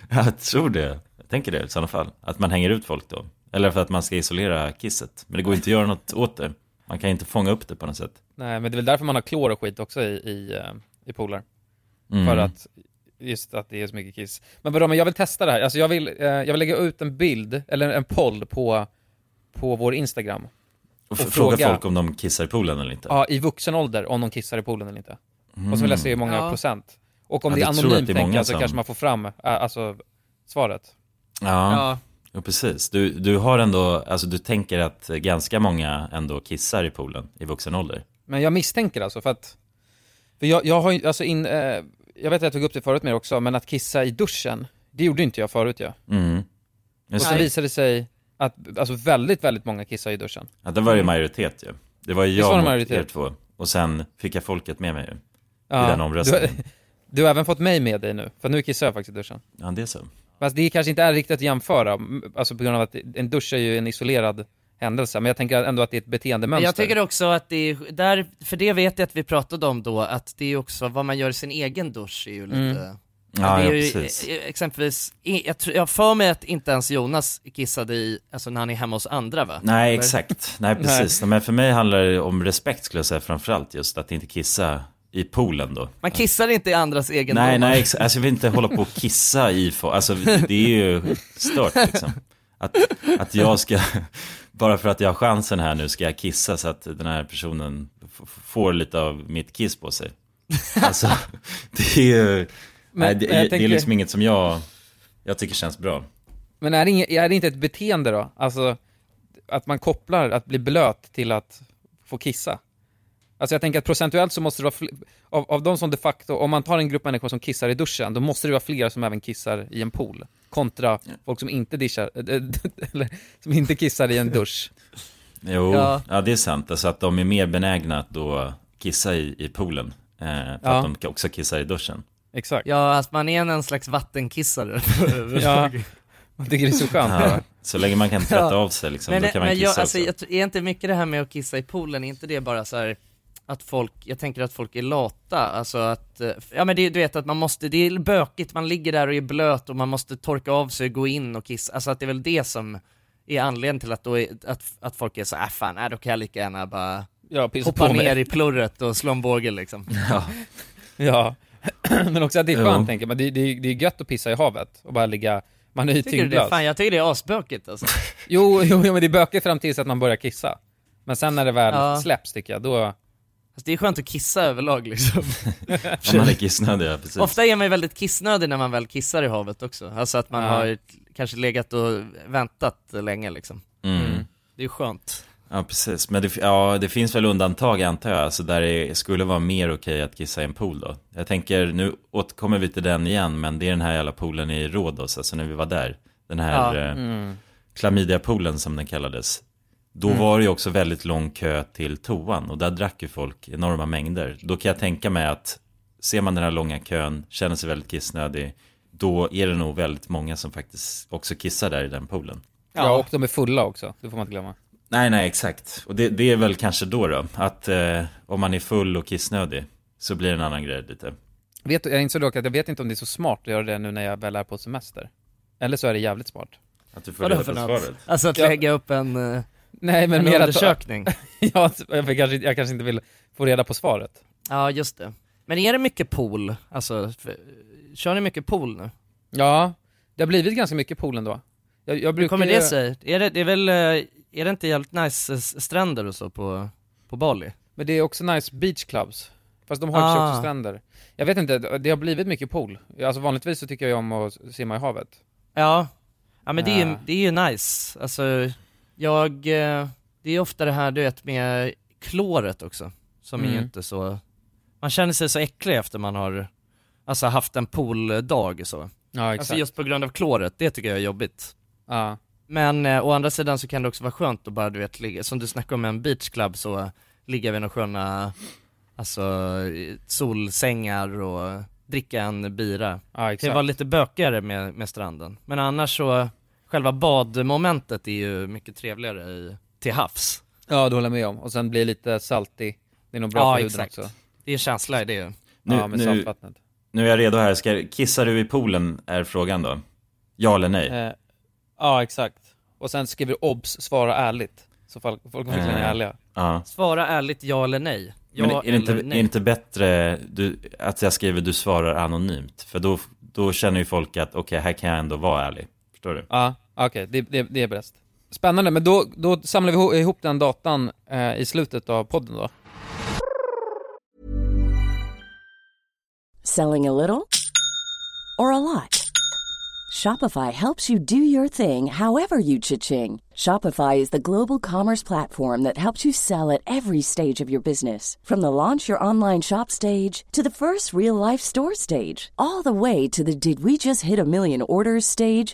Speaker 3: jag tror det. Jag tänker det i sådana fall. Att man hänger ut folk då. Eller för att man ska isolera kisset. Men det går inte att göra något åt det. Man kan inte fånga upp det på något sätt.
Speaker 1: Nej, men det är väl därför man har klor och skit också i, i, eh, i pooler.
Speaker 3: Mm.
Speaker 1: För att, just att det är så mycket kiss. Men vadå, men jag vill testa det här. Alltså jag vill, eh, jag vill lägga ut en bild, eller en poll på, på vår Instagram.
Speaker 3: Och, f-
Speaker 1: och
Speaker 3: fråga,
Speaker 1: fråga-
Speaker 3: folk om de kissar i poolen eller inte.
Speaker 1: Ja, i vuxen ålder, om de kissar i poolen eller inte. Och så vill jag se hur många
Speaker 2: Ja.
Speaker 1: procent. Och om
Speaker 3: Ja,
Speaker 1: det är
Speaker 3: du tror att
Speaker 1: anonymt,
Speaker 3: det är
Speaker 1: tänker
Speaker 3: många
Speaker 1: jag, så
Speaker 3: som-
Speaker 1: kanske man får fram, eh, alltså, svaret.
Speaker 3: Ja, ja.
Speaker 2: ja.
Speaker 3: precis. Du, du har ändå, alltså du tänker att ganska många ändå kissar i poolen i vuxen ålder.
Speaker 1: Men jag misstänker alltså, för att... För jag, jag har ju, alltså in... Eh, jag vet att jag tog upp det förut med er också, men att kissa i duschen, det gjorde inte jag förut ju.
Speaker 3: Mm.
Speaker 1: Och
Speaker 3: Just
Speaker 1: så
Speaker 3: det.
Speaker 1: visade det sig att alltså väldigt, väldigt många kissar i duschen.
Speaker 3: Ja, det var ju majoritet ju. Det var ju
Speaker 1: var det
Speaker 3: jag mot
Speaker 1: majoritet?
Speaker 3: er två. Och sen fick jag folket med mig ju.
Speaker 1: Ja,
Speaker 3: I den omröstningen.
Speaker 1: Du, du har även fått mig med dig nu, för nu kissar jag faktiskt i duschen.
Speaker 3: Ja, det är så.
Speaker 1: Fast det kanske inte är riktigt att jämföra, m- alltså på grund av att en dusch är ju en isolerad händelse, men jag tänker ändå att det är ett beteendemönster.
Speaker 2: Jag tycker också att det är, där, för det vet jag att vi pratade om då, att det är också vad man gör i sin egen dusch är ju lite
Speaker 3: Mm. Ja,
Speaker 2: det
Speaker 3: ja,
Speaker 2: är ju,
Speaker 3: precis.
Speaker 2: eh, exempelvis, i- jag, tror- jag har för mig att inte ens Jonas kissade i, alltså när han är hemma hos andra va?
Speaker 3: Nej, exakt. Nej, precis. Men för mig handlar det om respekt skulle jag säga framförallt just att inte kissa i poolen då.
Speaker 2: Man kissar inte i andras egen
Speaker 3: Nej, nej, ex- alltså jag vill inte hålla på och kissa i folk. Alltså det är ju stört liksom. Att, att jag ska, bara för att jag har chansen här nu ska jag kissa så att den här personen f- får lite av mitt kiss på sig. Alltså det är ju,
Speaker 1: Men-
Speaker 3: nej, det,
Speaker 1: men jag
Speaker 3: det
Speaker 1: tänker-
Speaker 3: är liksom inget som jag, jag tycker känns bra.
Speaker 1: Men är det, inget, är det inte ett beteende då? Alltså, att man kopplar att bli blöt till att få kissa? Alltså jag tänker att procentuellt så måste det vara fler, av, av de som de facto, om man tar en grupp människor som kissar i duschen, då måste det vara fler som även kissar i en pool. Kontra folk som inte, eh, dishar, eller, som inte kissar i en dusch.
Speaker 3: Jo,
Speaker 1: Ja.
Speaker 3: ja. det är sant. Alltså att de är mer benägna att då kissa i, i poolen. Eh, för
Speaker 1: Ja.
Speaker 3: att de också kissar i duschen.
Speaker 1: Exakt.
Speaker 2: Ja, att man är en slags vattenkissare.
Speaker 1: Ja, man tycker det är så skönt.
Speaker 3: Ja, så länge man kan tvätta av sig liksom,
Speaker 2: men,
Speaker 3: då kan man
Speaker 2: men
Speaker 3: kissa
Speaker 2: jag, alltså,
Speaker 3: också.
Speaker 2: jag, tror- Är inte mycket det här med att kissa i poolen, är inte det bara så här att folk, jag tänker att folk är lata, alltså att, eh, ja men det, du vet att man måste, det är bökigt, man ligger där och är blöt och man måste torka av sig, gå in och kissa, alltså att det är väl det som är anledningen till att, då är, att, att folk är så här, äh, fan, äh, då kan jag lika gärna bara
Speaker 1: Ja, pissa
Speaker 2: hoppa
Speaker 1: på mig."
Speaker 2: ner i plurret och slå en båge liksom.
Speaker 3: Ja.
Speaker 1: Ja, men också att det är skönt
Speaker 2: Jo.
Speaker 1: tänker man. Det, det, det är gött att pissa i havet och bara ligga, man är ju
Speaker 2: Tycker du det?
Speaker 1: tyngdlös.
Speaker 2: Fan, jag tycker det är asbökigt alltså.
Speaker 1: Jo, jo, jo, men det är bökigt fram tills att man börjar kissa. Men sen när det väl
Speaker 2: Ja.
Speaker 1: släpps tycker jag, då...
Speaker 2: Fast det är skönt att kissa överlag liksom.
Speaker 3: Om man är kissnödig, ja precis.
Speaker 2: Ofta är man ju väldigt kissnödig när man väl kissar i havet också, alltså att man
Speaker 3: Ja.
Speaker 2: har kanske legat och väntat länge liksom.
Speaker 3: Mm.
Speaker 2: Det är ju skönt.
Speaker 3: Ja, precis. Men det, ja, det finns väl undantag antar jag, alltså där det skulle vara mer okej att kissa i en pool då. Jag tänker, nu återkommer vi till den igen, men det är den här jävla poolen i Rhodos, alltså när vi var där. Den här
Speaker 2: Ja.
Speaker 3: eh,
Speaker 2: Mm.
Speaker 3: klamydiapoolen som den kallades. Då
Speaker 2: Mm.
Speaker 3: var det ju också väldigt lång kö till toan och där drack ju folk enorma mängder. Då kan jag tänka mig att ser man den här långa kön, känner sig väldigt kissnödig, då är det nog väldigt många som faktiskt också kissar där i den poolen.
Speaker 1: Ja. och de är fulla också, det får man inte glömma.
Speaker 3: Nej, nej, exakt. Och det, det är väl kanske då då, att eh, om man är full och kissnödig så blir det en annan grej lite.
Speaker 1: Vet, du- jag insåg dock att jag vet inte om det är så smart att göra det nu när jag väl är på semester. Eller så är det jävligt smart.
Speaker 3: Att du får
Speaker 2: Vadå
Speaker 3: reda
Speaker 2: för
Speaker 3: på
Speaker 2: något?
Speaker 3: svaret.
Speaker 2: Alltså att
Speaker 1: Ja.
Speaker 2: lägga upp en, eh,
Speaker 1: Nej, men
Speaker 2: en
Speaker 1: mer att-
Speaker 2: undersökning.
Speaker 1: ja, jag, vill kanske, jag kanske inte vill få reda på svaret.
Speaker 2: Ja, just det. Men är det mycket pool? Alltså, för, kör ni mycket pool nu?
Speaker 1: Ja, det har blivit ganska mycket pool ändå. Jag, jag
Speaker 2: Hur
Speaker 1: brukar
Speaker 2: kommer
Speaker 1: ju-
Speaker 2: det sig? Är det, det är väl, eh, är det inte jävligt nice eh, stränder och så på, på Bali?
Speaker 1: Men det är också nice beach clubs. Fast de har ju
Speaker 2: Ah.
Speaker 1: också stränder. Jag vet inte, det har blivit mycket pool. Alltså vanligtvis så tycker jag ju om att simma i havet.
Speaker 2: Ja, ja men det är, ju,
Speaker 1: Ja.
Speaker 2: det är ju nice. Alltså, jag, eh, det är ofta det här du vet med kloret också, som är ju
Speaker 1: Mm.
Speaker 2: inte så, man känner sig så äcklig efter man har, alltså haft en pooldag så.
Speaker 1: Ja, exakt.
Speaker 2: Alltså just på grund av kloret, det tycker jag är jobbigt.
Speaker 1: Ja.
Speaker 2: Men eh, å andra sidan så kan det också vara skönt att bara du vet, ligga, som du snackade om en beachclub så eh, ligga vid några sköna, alltså eh, solsängar och dricka en bira.
Speaker 1: Ja,
Speaker 2: Det
Speaker 1: exakt.
Speaker 2: var lite bökigare med, med stranden. Men annars så, själva badmomentet är ju mycket trevligare i, till havs.
Speaker 1: Ja, det håller jag med om. Och sen blir det lite saltig. Det är nog bra
Speaker 2: Ja,
Speaker 1: för huden
Speaker 2: exakt.
Speaker 1: också.
Speaker 2: Det är känsla i det ju.
Speaker 1: ja, med saltvattnet.
Speaker 3: nu är jag redo här. Ska, kissar du i poolen är frågan då? Ja eller nej?
Speaker 1: Eh, ja, exakt. Och sen skriver du obs, svara ärligt. Så folk, folk verkligen är
Speaker 3: Eh,
Speaker 1: ärliga.
Speaker 3: Ja.
Speaker 2: Svara ärligt ja eller nej. Ja
Speaker 3: Men är det inte,
Speaker 2: eller
Speaker 3: är det
Speaker 2: nej.
Speaker 3: inte bättre du, att jag skriver du svarar anonymt? För då, då känner ju folk att okej, här kan jag ändå vara ärlig. Förstår du?
Speaker 1: Ja, okej, det, det, det är bäst. Spännande, men då, då samlar vi iho- ihop den datan eh, i slutet av podden då.
Speaker 11: Selling a little or a lot? Shopify helps you do your thing however you cha-ching. Shopify is the global commerce platform that helps you sell at every stage of your business. From the launch your online shop stage to the first real life store stage, all the way to the did we just hit a million orders stage.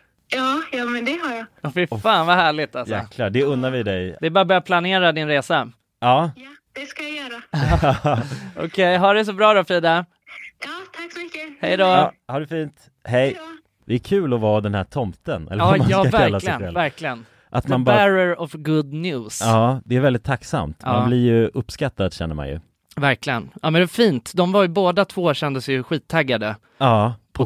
Speaker 4: Ja, ja, men det har jag.
Speaker 2: Ja, Fy fan vad härligt alltså.
Speaker 3: Jäklar, det unnar vi dig.
Speaker 2: Det är bara att börja planera din resa.
Speaker 3: Ja.
Speaker 4: Det ska jag göra.
Speaker 2: Okej, ha det så bra då Frida.
Speaker 4: Ja, tack så mycket.
Speaker 2: Hej då.
Speaker 3: ja ha det fint. Hej. Det är kul att vara den här tomten, eller
Speaker 2: Ja,
Speaker 3: vad man
Speaker 2: ja
Speaker 3: ska kalla sig
Speaker 2: verkligen,
Speaker 3: själv.
Speaker 2: verkligen.
Speaker 3: Att
Speaker 2: The
Speaker 3: man bara-
Speaker 2: bearer of good news.
Speaker 3: Ja, det är väldigt tacksamt. Man
Speaker 2: Ja.
Speaker 3: blir ju uppskattad känner man ju.
Speaker 2: Verkligen. Ja men det är fint. De var ju båda två kände sig ju skittaggade
Speaker 3: Ja.
Speaker 2: på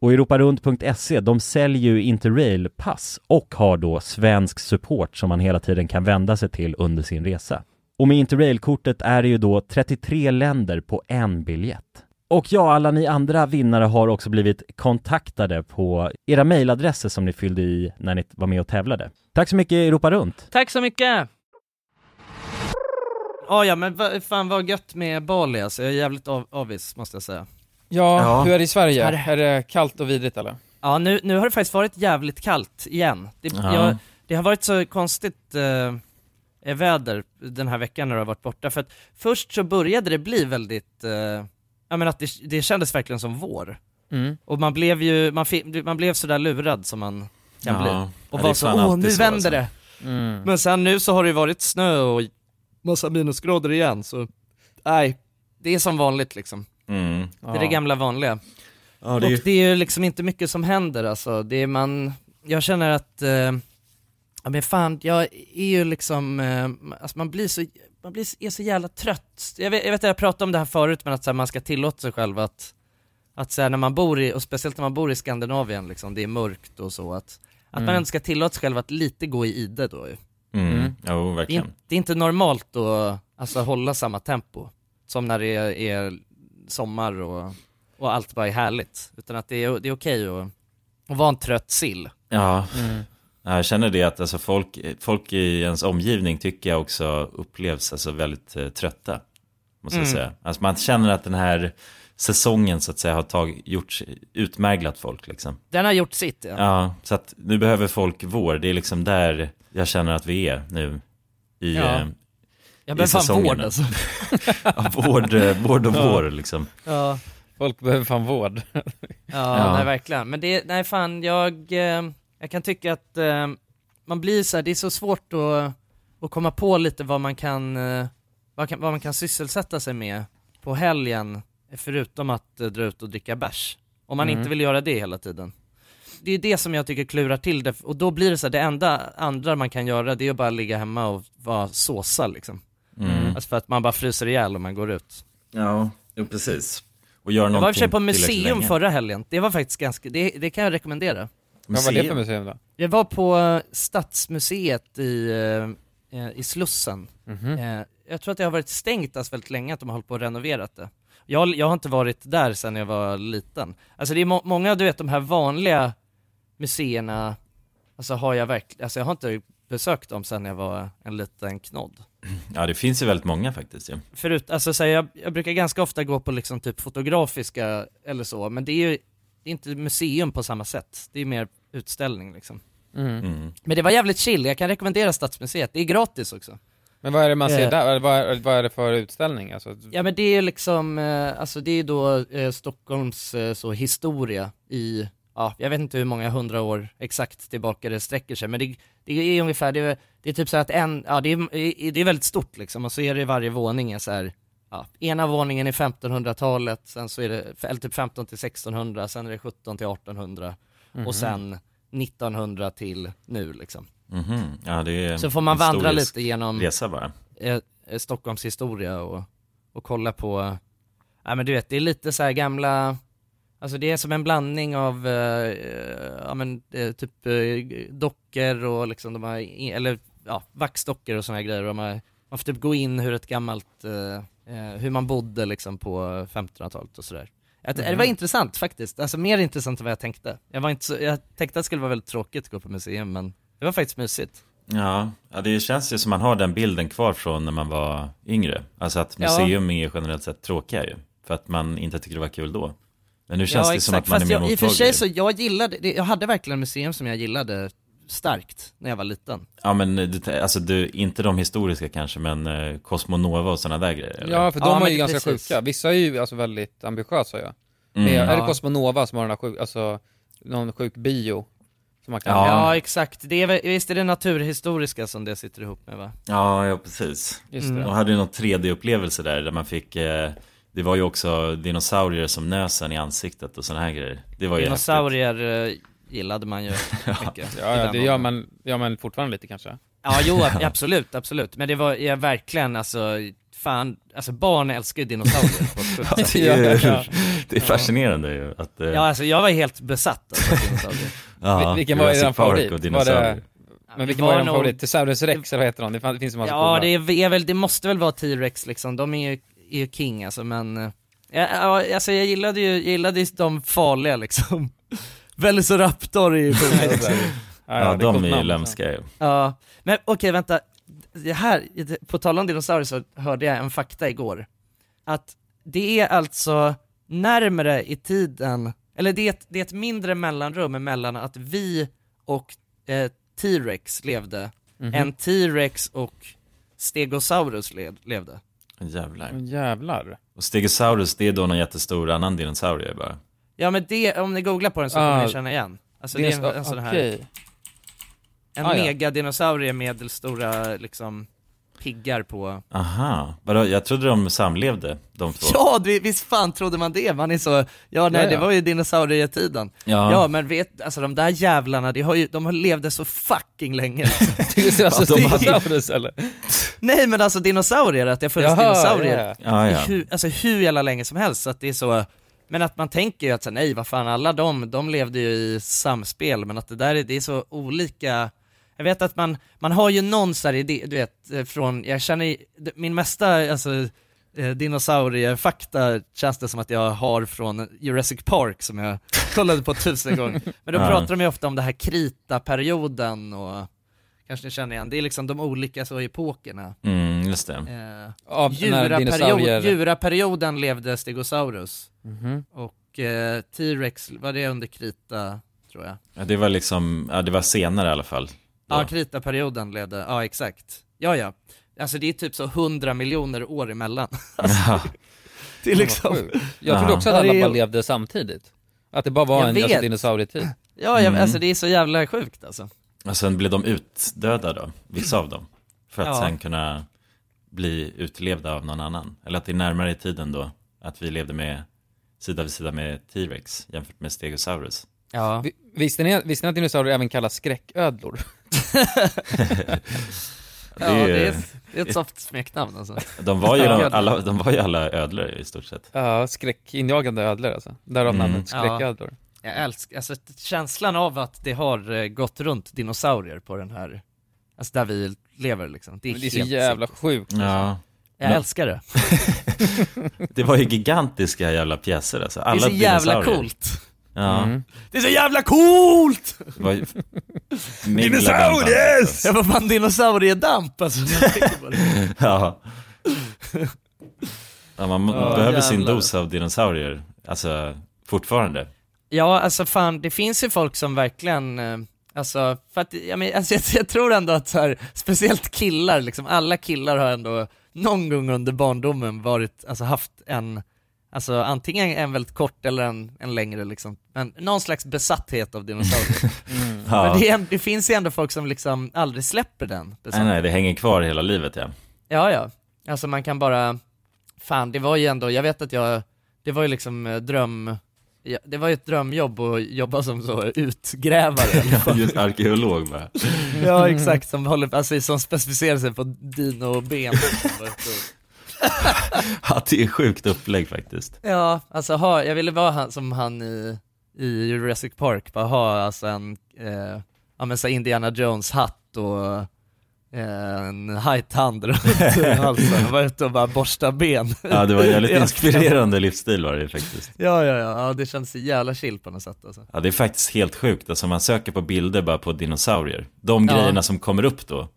Speaker 3: Och europarunt.se, E, de säljer ju Interrail-pass och har då svensk support som man hela tiden kan vända sig till under sin resa. Och med Interrail-kortet är det ju då 33 länder på en biljett. Och ja, alla ni andra vinnare har också blivit kontaktade på era mejladresser som ni fyllde i när ni var med och tävlade. Tack så mycket Europa Runt!
Speaker 2: Tack så mycket!
Speaker 12: Ja, ja men va, fan vad gött med Bali alltså. Jag är jävligt av, avis måste jag säga.
Speaker 1: Ja, hur är det i Sverige?
Speaker 12: Här-
Speaker 1: Är det kallt och vidrigt eller?
Speaker 12: Ja, nu, nu har det faktiskt varit jävligt kallt igen. Det,
Speaker 1: Ja.
Speaker 12: jag, det har varit så konstigt eh, eh, väder den här veckan när jag har varit borta, för att först så började det bli väldigt, eh, ja men att det, det kändes verkligen som vår.
Speaker 1: Mm.
Speaker 2: Och man blev ju, man, fi, man blev sådär lurad som man kan
Speaker 3: Ja.
Speaker 2: bli.
Speaker 3: Ja,
Speaker 2: Och
Speaker 3: det är
Speaker 2: var så,
Speaker 3: fan
Speaker 2: åh
Speaker 3: alltid
Speaker 2: nu
Speaker 3: så,
Speaker 2: vänder
Speaker 3: alltså."
Speaker 2: det.
Speaker 3: Mm.
Speaker 2: Men sen nu så har det ju varit snö och massa minusgrader igen så, nej, det är som vanligt liksom.
Speaker 3: Mm.
Speaker 2: Det är det gamla vanliga.
Speaker 3: Ja, det är ju-
Speaker 2: Och det är ju liksom inte mycket som händer alltså. Det är man, jag känner att, eh, ja men fan, jag är ju liksom, eh, alltså man blir så, man blir, är så jävla trött. Jag vet, jag vet att jag pratade om det här förut men att så här, man ska tillåta sig själv att, att så här, när man bor i, och speciellt när man bor i Skandinavien liksom, det är mörkt och så att, att
Speaker 3: Mm.
Speaker 2: man ändå ska tillåta sig själv att lite gå i ide då ju.
Speaker 3: Mm.
Speaker 2: Mm.
Speaker 3: Jo,
Speaker 2: Det är,
Speaker 3: verkligen.
Speaker 2: in- det är inte normalt att alltså, hålla samma tempo som när det är, är sommar och, och allt bara är härligt. Utan att det är, det är okej att, att vara en trött sill.
Speaker 3: Ja,
Speaker 2: Mm.
Speaker 3: Ja, jag känner det att alltså folk, folk i ens omgivning tycker jag också upplevs alltså väldigt eh, trötta. Måste jag
Speaker 2: Mm.
Speaker 3: säga. Alltså man känner att den här säsongen så att säga har tag, gjort, utmärglat folk liksom.
Speaker 2: Den har gjort sitt ja.
Speaker 3: Ja. så att nu behöver folk vår. Det är liksom där jag känner att vi är nu. I,
Speaker 2: Ja.
Speaker 3: eh,
Speaker 2: Jag
Speaker 3: i
Speaker 2: behöver fan
Speaker 3: säsongen.
Speaker 2: vård, alltså.
Speaker 3: ja, vård, eh, vård och
Speaker 1: Ja.
Speaker 3: vår liksom.
Speaker 2: Ja.
Speaker 1: Folk behöver fan vård.
Speaker 2: Ja, nej verkligen. Men det, nej fan, jag, eh, jag kan tycka att eh, man blir så här, det är så svårt att, att komma på lite vad man kan, eh, vad, kan, vad man kan sysselsätta sig med på helgen, förutom att eh, dra ut och dricka bärs. Om man
Speaker 10: Mm.
Speaker 2: inte vill göra det hela tiden. Det är det som jag tycker klurar till det, och då blir det så här, det enda andra man kan göra det är att bara ligga hemma och vara såsa liksom.
Speaker 3: Mm.
Speaker 2: Alltså för att man bara fryser ihjäl om man går ut.
Speaker 3: Ja, jo, precis. Och göra
Speaker 2: Jag var i och för sig
Speaker 3: någonting
Speaker 2: på
Speaker 3: tillräckligt
Speaker 2: museum
Speaker 3: länge.
Speaker 2: förra helgen, det var faktiskt ganska, det, det kan jag rekommendera.
Speaker 1: Vad var det för museum då?
Speaker 2: Jag var på eh, Stadsmuseet i, eh, eh, i Slussen. Eh, Jag tror att det har varit stängt alltså väldigt länge, att de har hållit på och renoverat det. Jag, jag har inte varit där sedan jag var liten. Alltså det är må- många, du vet de här vanliga museerna, alltså har jag verkligen, alltså jag har inte besökt dem sedan jag var en liten knodd.
Speaker 3: Ja, det finns ju väldigt många faktiskt ju.
Speaker 2: Förut, alltså så här, jag, jag brukar ganska ofta gå på liksom typ fotografiska eller så, men det är ju det är inte museum på samma sätt, det är mer utställning liksom.
Speaker 1: Mm.
Speaker 2: Men det var jävligt chill, jag kan rekommendera Stadsmuseet, det är gratis också.
Speaker 1: Men vad är det man ser
Speaker 2: Eh.
Speaker 1: där? Eller Vad är, vad är det för utställning? Alltså,
Speaker 2: Ja men det är ju liksom, eh, alltså det är ju då eh, Stockholms eh, så historia i, ja jag vet inte hur många hundra år exakt tillbaka det sträcker sig, men det, det är ungefär, det är, det är typ så här att en, ja det är, det är väldigt stort liksom, och så är det i varje våning är så här, ja, ena våningen är 1500-talet, sen så är det, eller typ 15 till 1600, sen är det 17 till 1800,
Speaker 3: Mhm.
Speaker 2: och sen 1900 till nu liksom.
Speaker 3: Mhm. Ja, det är
Speaker 2: Så får man vandra
Speaker 3: historisk
Speaker 2: lite genom
Speaker 3: resa bara.
Speaker 2: eh, eh, Stockholms historia och, och kolla på, eh, ja men du vet det är lite så här gamla, alltså det är som en blandning av, eh, eh, ja men eh, typ eh, dockor och liksom de här, i- eller ja, vaxdockor och såna här grejer. De här, man får typ gå in hur ett gammalt, eh, eh, hur man bodde liksom på 1500-talet och sådär. Att, Det var
Speaker 10: Mhm.
Speaker 2: intressant faktiskt, alltså mer intressant än vad jag tänkte. Jag, var inte så, jag tänkte att det skulle vara väldigt tråkigt att gå på museum men det var faktiskt mysigt.
Speaker 3: Ja, ja, det känns ju som man har den bilden kvar från när man var yngre. Alltså att
Speaker 2: Ja.
Speaker 3: museum är generellt sett tråkiga ju. För att man inte tyckte det var kul då. Men nu känns det som att man
Speaker 2: Fast
Speaker 3: är mer
Speaker 2: jag, I och för sig
Speaker 3: mottaglig.
Speaker 2: så jag gillade, det, jag hade verkligen museum som jag gillade starkt när jag var liten.
Speaker 3: Ja, men det, alltså du, inte de historiska kanske, men eh, Cosmonova och sådana där grejer. eller?
Speaker 1: Ja, för de
Speaker 2: Ja,
Speaker 1: är
Speaker 2: men
Speaker 1: ju ganska
Speaker 2: precis.
Speaker 1: sjuka. Vissa är ju alltså väldigt ambitiösa ju.
Speaker 3: Mm.
Speaker 1: Med, Är det
Speaker 2: Ja.
Speaker 1: Cosmonova som har den här sjuk, alltså, någon sjuk bio? Som man kan...
Speaker 2: Ja, Mm. exakt, det är, väl- visst är det naturhistoriska som det sitter ihop med va?
Speaker 3: Ja, ja precis.
Speaker 2: Just det.
Speaker 3: De hade ju någon 3D-upplevelse där, där man fick... Eh, det var ju också dinosaurier som nös en i ansiktet och såna här grejer. Det var ju häftigt.
Speaker 2: Dinosaurier eh, gillade man ju mycket.
Speaker 1: Ja, ja,
Speaker 2: i den
Speaker 1: det gör
Speaker 2: åldern.
Speaker 1: man, gör man fortfarande lite kanske.
Speaker 2: Ja, jo absolut, absolut. Men det var jag verkligen alltså, fan, alltså barn älskar ju dinosaurier på ett
Speaker 3: Ja,
Speaker 2: sjukt sätt.
Speaker 3: det, är,
Speaker 2: Ja.
Speaker 3: det är fascinerande ju att... eh,
Speaker 2: Ja, alltså jag var helt besatt av dinosaurier.
Speaker 3: Ja,
Speaker 1: Vil- vilken var
Speaker 3: Jurassic
Speaker 1: eran
Speaker 3: Park
Speaker 1: favorit?
Speaker 3: och
Speaker 1: Var
Speaker 3: dinosaurier.
Speaker 1: det, men vilken
Speaker 2: var
Speaker 1: var eran
Speaker 2: nog-
Speaker 1: favorit? Thesaurus Rex eller vad heter de? Det fan- finns ju massa
Speaker 2: Ja, det, är, är väl, det måste väl vara T-Rex liksom, de är ju, är ju king alltså men eh, ja, ja, alltså jag gillade ju, jag gillade ju de farliga liksom Velociraptor är ju
Speaker 3: Ja,
Speaker 2: coola också.
Speaker 3: ja, de är ju lömska ju.
Speaker 2: Ja, men okej vänta, det här, på tal om dinosaurier så hörde jag en fakta igår Att det är alltså närmare i tiden, eller det är ett, det är ett mindre mellanrum mellan att vi och eh, T-Rex levde
Speaker 1: Mhm.
Speaker 2: än T-Rex och Stegosaurus led, levde.
Speaker 3: Jävlar.
Speaker 1: Jävlar.
Speaker 3: Och Stegosaurus, det är då någon jättestor annan dinosaurie bara.
Speaker 2: Ja men det, om ni googlar på den så kommer
Speaker 10: Ah.
Speaker 2: ni känna igen. Alltså
Speaker 10: Det
Speaker 2: det
Speaker 10: är
Speaker 2: är en,
Speaker 10: så-
Speaker 2: en sån här...
Speaker 10: okej.
Speaker 2: En
Speaker 10: Ah, ja.
Speaker 2: megadinosaurie med stora liksom piggar på...
Speaker 3: Aha, vadå, jag trodde de samlevde de två.
Speaker 2: Ja, det- visst fan trodde man det? Man är så, ja nej
Speaker 3: Ja, ja.
Speaker 2: det var ju dinosaurietiden.
Speaker 3: Ja.
Speaker 2: ja men vet, alltså de där jävlarna, de, har ju, de har levde så fucking länge.
Speaker 1: Det är alltså
Speaker 2: Ja, de hade-
Speaker 1: dinosaurus eller?
Speaker 2: Nej men alltså dinosaurier, att det har funnits
Speaker 1: Jaha,
Speaker 2: dinosaurier
Speaker 1: ja, ja.
Speaker 2: i
Speaker 1: Ja, ja.
Speaker 2: Hur, alltså hur jävla länge som helst, så att det är så men att man tänker ju att så, här, nej vad fan alla de, de levde ju i samspel men att det där är, det är så olika Jag vet att man, man har ju någon sån här idé, du vet eh, från, jag känner ju- d- min mesta alltså, eh, dinosauriefakta känns det som att jag har från Jurassic Park som jag kollade på tusen gånger Men då
Speaker 10: Ja.
Speaker 2: pratar de ju ofta om den här krita-perioden och kanske ni känner igen, det är liksom de olika så epokerna
Speaker 3: Mm, just det.
Speaker 2: Eh,
Speaker 1: Av när
Speaker 2: Juraperiod-
Speaker 1: dinosaurier-
Speaker 2: Juraperioden levde Stegosaurus
Speaker 1: Mhm.
Speaker 2: och eh, T-Rex, var det under krita tror jag?
Speaker 3: Ja, det var liksom, ja det var senare i alla fall.
Speaker 2: Ja, kritaperioden levde, ja exakt. Ja, ja. Alltså det är typ så 100 miljoner år emellan.
Speaker 3: Ja.
Speaker 2: det är liksom...
Speaker 1: Vad sjukt. Jag trodde också att alla
Speaker 2: Ja, det är-
Speaker 1: bara levde samtidigt. Att det bara var
Speaker 2: Jag
Speaker 1: en alltså,
Speaker 2: vet.
Speaker 1: dinosaurietid.
Speaker 2: Ja, jag,
Speaker 3: Mm.
Speaker 2: alltså det är så jävla sjukt alltså.
Speaker 3: Och sen blev de utdöda då, vissa av dem. För att
Speaker 2: Ja.
Speaker 3: sen kunna bli utlevda av någon annan. Eller att det är närmare i tiden då, att vi levde med, sida vid sida med T-Rex jämfört med Stegosaurus.
Speaker 1: Vi- Visste, ni, visste ni att dinosaurier även kallas skräcködlor?
Speaker 2: Ja, det är, det är, ett, det är ett soft smeknamn alltså.
Speaker 3: De var ju,
Speaker 1: Ja.
Speaker 3: alla, de var ju alla ödlor i stort sett.
Speaker 1: Ja, skräckinjagande ödlor alltså. Därav
Speaker 3: Mm.
Speaker 1: namnet skräcködlor.
Speaker 2: Ja. Jag älskar, alltså t- känslan av att det har eh, gått runt dinosaurier på den här, alltså där vi lever liksom. Det är,
Speaker 1: Men det är så
Speaker 2: helt
Speaker 1: jävla
Speaker 2: sick.
Speaker 1: sjukt.
Speaker 3: Ja.
Speaker 2: Jag
Speaker 3: Men-
Speaker 2: älskar det.
Speaker 3: Det var ju gigantiska jävla pjäser alltså. Alla
Speaker 2: det är så jävla
Speaker 3: dinosaurier.
Speaker 2: coolt. Mm.
Speaker 3: Ja.
Speaker 2: Det är så jävla coolt!
Speaker 3: Det var ju-
Speaker 2: Jag var fan dinosauriedamp alltså. när jag tänker på det.
Speaker 3: ja. ja, man
Speaker 2: Ja,
Speaker 3: behöver sin
Speaker 2: jävlar.
Speaker 3: dos av dinosaurier, alltså fortfarande.
Speaker 2: Ja, alltså fan, det finns ju folk som verkligen, eh, alltså, för att, jag, men, alltså, jag, jag tror ändå att så här, speciellt killar, liksom, alla killar har ändå någon gång under barndomen varit, alltså haft en, alltså antingen en väldigt kort eller en, en längre liksom, men någon slags besatthet av dinosaurier.
Speaker 3: Ja.
Speaker 2: Men det, är, det finns ju ändå folk som liksom aldrig släpper den
Speaker 3: Nej, nej, det hänger kvar hela livet ja.
Speaker 2: Ja, ja. Alltså man kan bara, fan det var ju ändå, jag vet att jag, det var ju liksom eh, dröm, ja, det var ju ett drömjobb att jobba som så utgrävare. eller vad.
Speaker 3: Just arkeolog bara.
Speaker 2: ja, exakt, som håller, alltså som specialiserar sig på dino-ben.
Speaker 3: Ja, det är sjukt upplägg faktiskt.
Speaker 2: ja, alltså ha, jag ville vara han, som han i, i Jurassic Park, bara ha alltså en, eh, ja men så här Indiana Jones-hatt och eh, en hajtand runt halsen, vara ute och bara borsta ben.
Speaker 3: Ja, det var en jävligt
Speaker 2: Ja.
Speaker 3: inspirerande livsstil var det ju faktiskt.
Speaker 2: Ja, ja, ja, ja, det känns så jävla chill på något sätt alltså.
Speaker 3: Ja, det är faktiskt helt sjukt. Alltså man söker på bilder bara på dinosaurier. De
Speaker 2: Ja.
Speaker 3: grejerna som kommer upp då,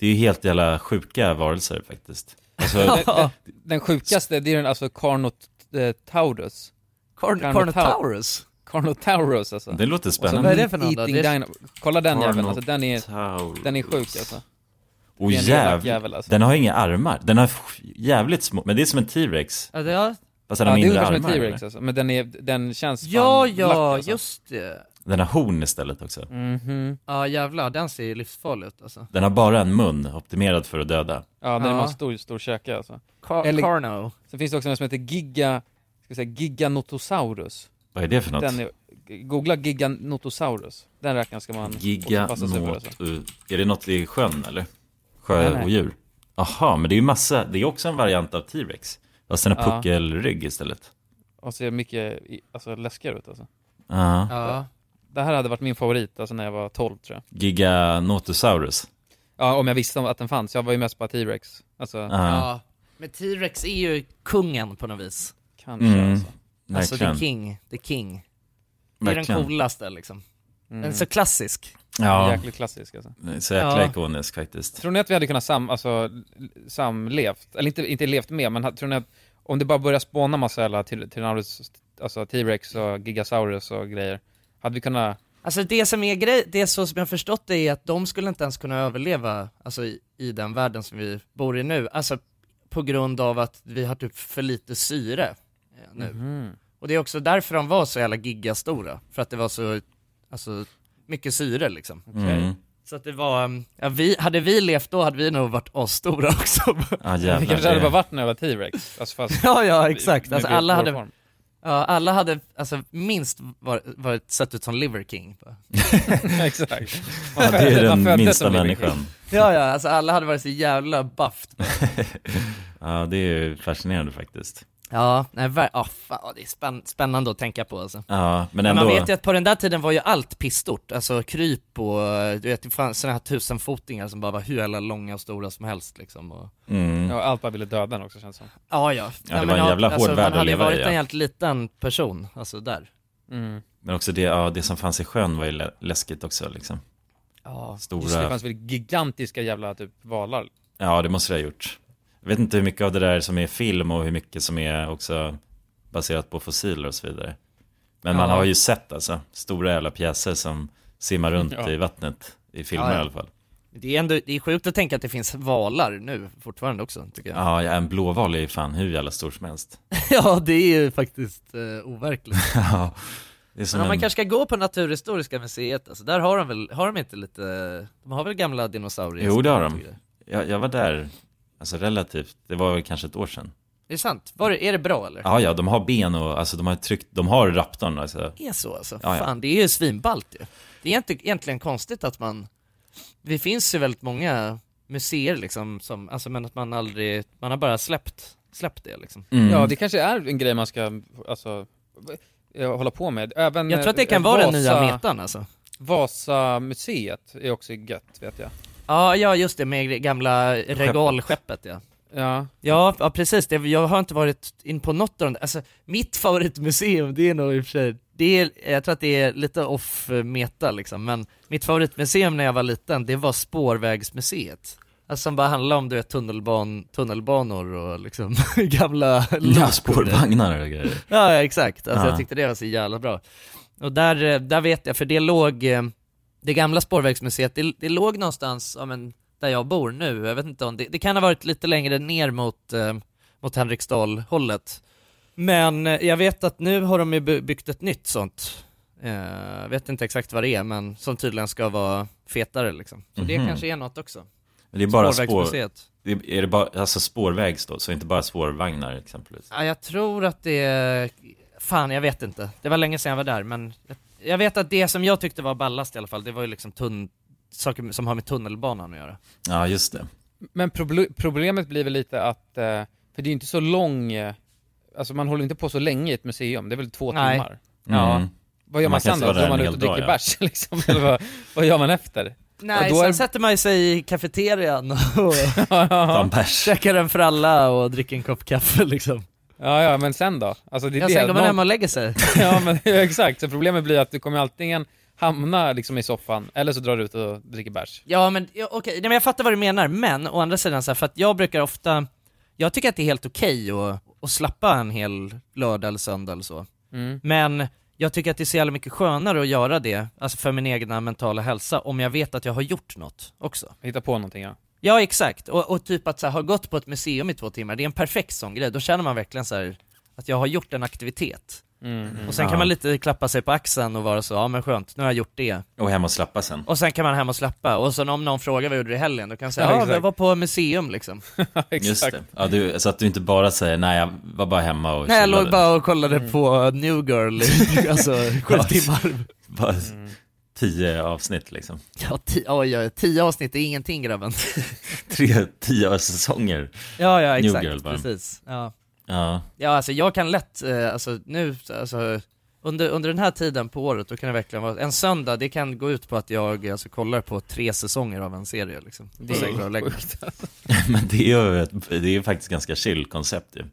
Speaker 3: det är ju helt jävla sjuka varelser faktiskt. Alltså,
Speaker 1: Den, den, den sjukaste, det är den alltså Carnotaurus.
Speaker 2: Carn- Carnotaurus?
Speaker 1: Carnotaurus alltså.
Speaker 3: Det låter
Speaker 1: Och så
Speaker 3: spännande.
Speaker 2: Vad är det för någon då?
Speaker 1: Eating
Speaker 2: Det är-
Speaker 1: dino... Kolla den jäveln, alltså den är, den är sjuk alltså.
Speaker 3: och
Speaker 1: Det är en elak
Speaker 3: jäv...
Speaker 1: jävel, alltså.
Speaker 3: Den har inga armar. Den har f- jävligt små, men det är som en T-Rex.
Speaker 2: Ja, det har...
Speaker 3: Fast den har
Speaker 1: ja, det är
Speaker 3: mindre
Speaker 1: ungefär som
Speaker 3: armar.
Speaker 1: en T-Rex
Speaker 3: eller?
Speaker 1: alltså, men den, är, den känns fan
Speaker 2: Ja,
Speaker 1: lack,
Speaker 2: ja,
Speaker 1: alltså.
Speaker 2: just det.
Speaker 3: Den har horn istället också.
Speaker 1: Mhm.
Speaker 2: Ja jävlar, den ser ju livsfarlig ut alltså.
Speaker 3: Den har bara en mun, optimerad för att döda.
Speaker 1: Ja, den
Speaker 2: Ja.
Speaker 1: har en stor, stor käke alltså.
Speaker 2: Car- Carno.
Speaker 1: Sen finns det också en som heter Giga, ska jag säga, Giganotosaurus.
Speaker 3: Vad är det för något?
Speaker 1: Den är, googla Giganotosaurus. Den räknas ska man också passa sig för alltså.
Speaker 3: Giganot... Är det något i sjön eller?
Speaker 1: Nej, nej.
Speaker 3: Sjöodjur? Aha, men det är ju massa, det är också en variant av T-Rex. Fast den har
Speaker 1: Ja.
Speaker 3: puckelrygg istället.
Speaker 1: Och ser mycket i- alltså, läskigare ut alltså.
Speaker 3: Ja.
Speaker 2: Ja.
Speaker 1: Det här hade varit min favorit alltså när jag var 12 tror jag.
Speaker 3: Giganotosaurus.
Speaker 1: Ja, om jag visste om att den fanns. Jag var ju mest på T-Rex. Alltså,
Speaker 2: Ja. Men T-Rex är ju kungen på något vis.
Speaker 1: Kanske
Speaker 3: Mm,
Speaker 1: alltså.
Speaker 2: Alltså the
Speaker 3: verkligen.
Speaker 2: king, the king. Det är
Speaker 3: Verkligen.
Speaker 2: den coolaste liksom.
Speaker 1: Mm.
Speaker 2: Den är så klassisk.
Speaker 3: Ja.
Speaker 1: Jäkligt klassisk alltså.
Speaker 3: Den är Så jäkla
Speaker 1: Ja.
Speaker 3: ikonisk faktiskt.
Speaker 1: Tror ni att vi hade kunnat sam, alltså, samlevt, eller inte, inte levt med, men ha- tror ni att om det bara börjar spåna massa jävla tyr- Tyrannosaurus, alltså T-Rex och Gigasaurus och grejer, hade vi kunnat,
Speaker 2: Alltså det som är grej, det så som jag har förstått det är att de skulle inte ens kunna överleva alltså, i, i den världen som vi bor i nu, alltså på grund av att vi har typ för lite syre eh, nu. Och det är också därför de var så jävla gigastora, för att det var så, alltså, mycket syre liksom.
Speaker 3: Mm.
Speaker 2: Så att det var, um, ja, vi, hade vi levt då hade vi nog varit asstora också.
Speaker 3: Ja,
Speaker 1: jävlar, Vi kanske hade det. bara varit en jävla T-Rex. Alltså, fast-
Speaker 2: ja, ja,
Speaker 1: Vi-
Speaker 2: exakt.
Speaker 1: vi
Speaker 2: Alltså,
Speaker 1: vet
Speaker 2: alla
Speaker 1: vår
Speaker 2: hade,
Speaker 1: form.
Speaker 2: ja, alla hade alltså, minst var, varit, sett ut som Liver King. bara.
Speaker 1: Exakt.
Speaker 3: Ja, det är den minsta människan.
Speaker 2: ja, ja, alltså alla hade varit så jävla buffed.
Speaker 3: Ja, det är ju fascinerande faktiskt.
Speaker 2: Ja, nej, ver- ah, fan, ah, det är spänn- spännande att tänka på alltså.
Speaker 3: Ja, men
Speaker 2: man
Speaker 3: ändå.
Speaker 2: vet ju att på den där tiden var ju allt pissstort, alltså kryp och eh, du vet, det fanns sådana här tusenfotingar som bara var hur jävla långa och stora som helst liksom. Och...
Speaker 3: Mm.
Speaker 1: Ja, allt bara ville döda den också känns det som.
Speaker 2: Ja, ja.
Speaker 3: Ja, det
Speaker 2: men
Speaker 3: var en jävla hård
Speaker 2: alltså,
Speaker 3: värld
Speaker 2: Man
Speaker 3: att
Speaker 2: hade ju
Speaker 3: leva i,
Speaker 2: varit
Speaker 3: ja.
Speaker 2: en helt liten person, alltså där.
Speaker 3: Men också det, ja, det som fanns i sjön var ju lä- läskigt också liksom.
Speaker 2: Ja.
Speaker 1: Just det, det
Speaker 3: Stora,
Speaker 1: fanns väl gigantiska jävla typ valar.
Speaker 3: ja det måste det ha gjort. Jag vet inte hur mycket av det där som är film och hur mycket som är också baserat på fossiler och så vidare. Men man
Speaker 2: Ja.
Speaker 3: har ju sett alltså, stora jävla pjäser som simmar runt
Speaker 2: Ja.
Speaker 3: i vattnet, i filmer
Speaker 2: Ja, ja.
Speaker 3: i alla fall.
Speaker 2: Det är ändå, det är sjukt att tänka att det finns valar nu fortfarande också, tycker jag.
Speaker 3: Ja, ja, en blåval är ju fan hur jävla stor som helst.
Speaker 2: ja, det är ju faktiskt eh, overkligt.
Speaker 3: ja, det är
Speaker 2: Men
Speaker 3: som
Speaker 2: om man
Speaker 3: en...
Speaker 2: kanske ska gå på Naturhistoriska museet, alltså, där har de väl, har de inte lite, de har väl gamla dinosaurier?
Speaker 3: Jo, det har de. Jag, jag var där, alltså relativt, det var väl kanske ett år sedan.
Speaker 2: Är det sant? Var, det- är det bra eller?
Speaker 3: Ja, ja, de har ben och alltså de har tryckt, de har raptorn alltså.
Speaker 2: Det är så alltså?
Speaker 3: Ja, ja.
Speaker 2: Fan, det är ju svinballt ju. Det är inte, egentligen konstigt att man, det finns ju väldigt många museer liksom, som, alltså, men att man aldrig, man har bara släppt, släppt det liksom.
Speaker 1: Ja, det kanske är en grej man ska, alltså, eh, hålla på med. Även
Speaker 2: Jag tror att det
Speaker 1: eh,
Speaker 2: kan vara den
Speaker 1: Vasa-
Speaker 2: nya metan, alltså.
Speaker 1: Vasamuseet är också gött, vet jag.
Speaker 2: Ja, ja just det, med det gamla regalskeppet ja.
Speaker 1: Ja.
Speaker 2: Ja, ja precis, det, jag har inte varit in på något av de alltså mitt favoritmuseum det är nog i och för sig, det är, jag tror att det är lite off meta liksom, men mitt favoritmuseum när jag var liten det var spårvägsmuseet. Alltså som bara handlade om du vet, tunnelban, tunnelbanor och liksom gamla
Speaker 3: Ja,
Speaker 2: lok-
Speaker 3: spårvagnar och grejer.
Speaker 2: Ja, ja, exakt. Alltså,
Speaker 3: Ja.
Speaker 2: Jag tyckte det var så jävla bra. Och där, eh, där vet jag, för det låg, eh, det gamla spårvägsmuseet, det, det låg någonstans ja, men, där jag bor nu. Jag vet inte om det, det kan ha varit lite längre ner mot, eh, mot Henriksdal-hållet. Men eh, jag vet att nu har de ju by- byggt ett nytt sånt. Eh, Jag vet inte exakt vad det är, men som tydligen ska vara fetare liksom. Så det
Speaker 3: Mhm.
Speaker 2: kanske är något också.
Speaker 3: Men det är bara spår,
Speaker 2: Spårvägsmuseet.
Speaker 3: det är, är det bara, alltså spårvägs då, så inte bara spårvagnar exempelvis.
Speaker 2: Ja, jag tror att det är... Fan, jag vet inte. Det var länge sedan jag var där, men jag- jag vet att det som jag tyckte var ballast i alla fall, det var ju liksom tunn... saker som har med tunnelbanan att göra.
Speaker 3: Ja, just det.
Speaker 1: Men proble- problemet blir väl lite att, eh, för det är ju inte så lång, eh, alltså man håller inte på så länge i ett museum, det är väl två
Speaker 2: Nej.
Speaker 1: timmar?
Speaker 3: Ja.
Speaker 1: Vad gör man,
Speaker 3: Man kan
Speaker 1: sen
Speaker 3: inte
Speaker 1: då?
Speaker 3: vara där
Speaker 1: Går man
Speaker 3: en
Speaker 1: ut och
Speaker 3: hel
Speaker 1: dricker
Speaker 3: dag, ja.
Speaker 1: bärs liksom? Eller vad, vad gör man efter?
Speaker 2: Nej,
Speaker 1: Och då
Speaker 2: sen
Speaker 1: är-
Speaker 2: sätter man ju sig i kafeterian och
Speaker 3: en bärs.
Speaker 2: käkar en fralla och dricker en kopp kaffe liksom.
Speaker 1: Ja, ja, men sen då? Alltså, det är
Speaker 2: Ja,
Speaker 1: det.
Speaker 2: sen går man
Speaker 1: Någon-
Speaker 2: hem och lägger sig.
Speaker 1: ja, men ja, exakt. Så problemet blir att du kommer antingen hamna liksom i soffan, eller så drar du ut och dricker bärs.
Speaker 2: Ja men ja, okej, Nej, men jag fattar vad du menar, men å andra sidan så här, för att jag brukar ofta, jag tycker att det är helt okej att, att slappa en hel lördag eller söndag eller så.
Speaker 1: Mm.
Speaker 2: Men jag tycker att det är så jävla mycket skönare att göra det, alltså för min egna mentala hälsa, om jag vet att jag har gjort något också.
Speaker 1: Hitta på någonting ja.
Speaker 2: Ja exakt, och, och typ att så här, ha gått på ett museum i två timmar, det är en perfekt sån grej, då känner man verkligen så här att jag har gjort en aktivitet.
Speaker 1: Mm, mm.
Speaker 2: och sen
Speaker 3: Ja.
Speaker 2: kan man lite klappa sig på axeln och vara så, ja men skönt, nu har jag gjort det.
Speaker 3: Och hem och slappa sen.
Speaker 2: Och sen kan man hem och slappa, och sen om någon frågar vad jag gjorde i helgen, då kan jag säga
Speaker 1: Ja,
Speaker 2: ja,
Speaker 1: exakt.
Speaker 2: men jag var på museum liksom.
Speaker 3: Just det. Ja, du, så att du inte bara säger nej, jag var bara hemma och
Speaker 2: Nej jag låg
Speaker 3: chillade."
Speaker 2: bara och kollade på New Girl i alltså, sju
Speaker 3: Ja,
Speaker 2: timmar.
Speaker 3: Bara
Speaker 2: Mm.
Speaker 3: tio avsnitt liksom.
Speaker 2: Ja, ti- oj, oj, tio avsnitt är ingenting grabben.
Speaker 3: Tre, tio säsonger.
Speaker 2: Ja, ja
Speaker 3: New
Speaker 2: exakt,
Speaker 3: Girl bara.
Speaker 2: precis. Ja.
Speaker 3: Ja.
Speaker 2: ja, alltså jag kan lätt, eh, alltså nu, alltså under, under den här tiden på året, då kan det verkligen vara, en söndag, det kan gå ut på att jag alltså, kollar på tre säsonger av en serie liksom.
Speaker 1: Det
Speaker 2: Och sen
Speaker 1: är
Speaker 2: går jag och lägger mig.
Speaker 3: Men det är ju ett, det är ju faktiskt ganska chill koncept ju.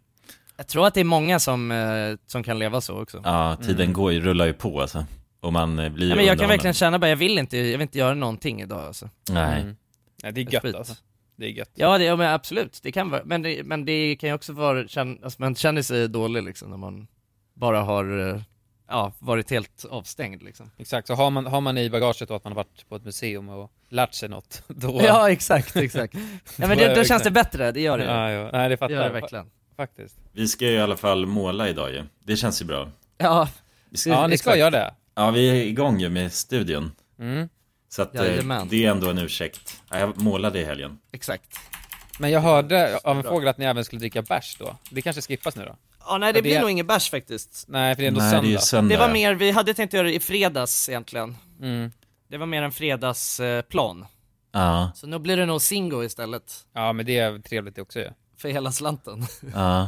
Speaker 2: Jag tror att det är många som, eh, som kan leva så också.
Speaker 3: Ja, tiden går ju, rullar ju på alltså. Och man eh, blir
Speaker 2: Mm. Ja, men jag kan
Speaker 3: underhållen.
Speaker 2: verkligen känna bara, jag vill inte, jag vill inte göra någonting idag alltså.
Speaker 3: Nej.
Speaker 1: Mm. Nej, det är gött alltså. Det är gött.
Speaker 2: Ja, det, ja men absolut, det kan vara, men det, men det kan ju också vara, känn, alltså man känner sig dålig liksom när man bara har, eh, ja, varit helt avstängd liksom.
Speaker 1: Exakt, så har man, har man i bagaget då att man har varit på ett museum och lärt sig något, då...
Speaker 2: Ja, exakt, exakt. Ja men det, då känns det bättre, det gör det.
Speaker 1: Ja, ja. Nej, det fattar
Speaker 2: Det gör det
Speaker 1: jag.
Speaker 2: verkligen.
Speaker 1: faktiskt.
Speaker 3: Vi ska ju i alla fall måla idag ju. Det känns ju bra.
Speaker 2: Ja,
Speaker 3: Vi
Speaker 1: ja ni ska
Speaker 3: exakt.
Speaker 1: göra det.
Speaker 3: Ja, vi är igång ju med studion.
Speaker 1: Mm.
Speaker 3: Så att, eh,
Speaker 1: Jajamän.
Speaker 3: det är ändå en ursäkt. Ja, Jag målade i helgen.
Speaker 2: Exakt.
Speaker 1: Men jag hörde av en fågel att ni även skulle dricka bärs då. Det kanske skippas nu då?
Speaker 2: Ja, nej det, blir nog ingen bärs faktiskt.
Speaker 1: Nej, för det är ändå
Speaker 3: Nej, det är
Speaker 1: söndag.
Speaker 3: ju söndag.
Speaker 2: Det var mer, vi hade tänkt göra det i fredags egentligen.
Speaker 1: Mm.
Speaker 2: Det var mer en fredagsplan.
Speaker 3: Ja,
Speaker 2: Så nu blir det nog Singo istället,
Speaker 1: Ja, men det är trevligt det också ju.
Speaker 2: för hela slanten.
Speaker 3: ja.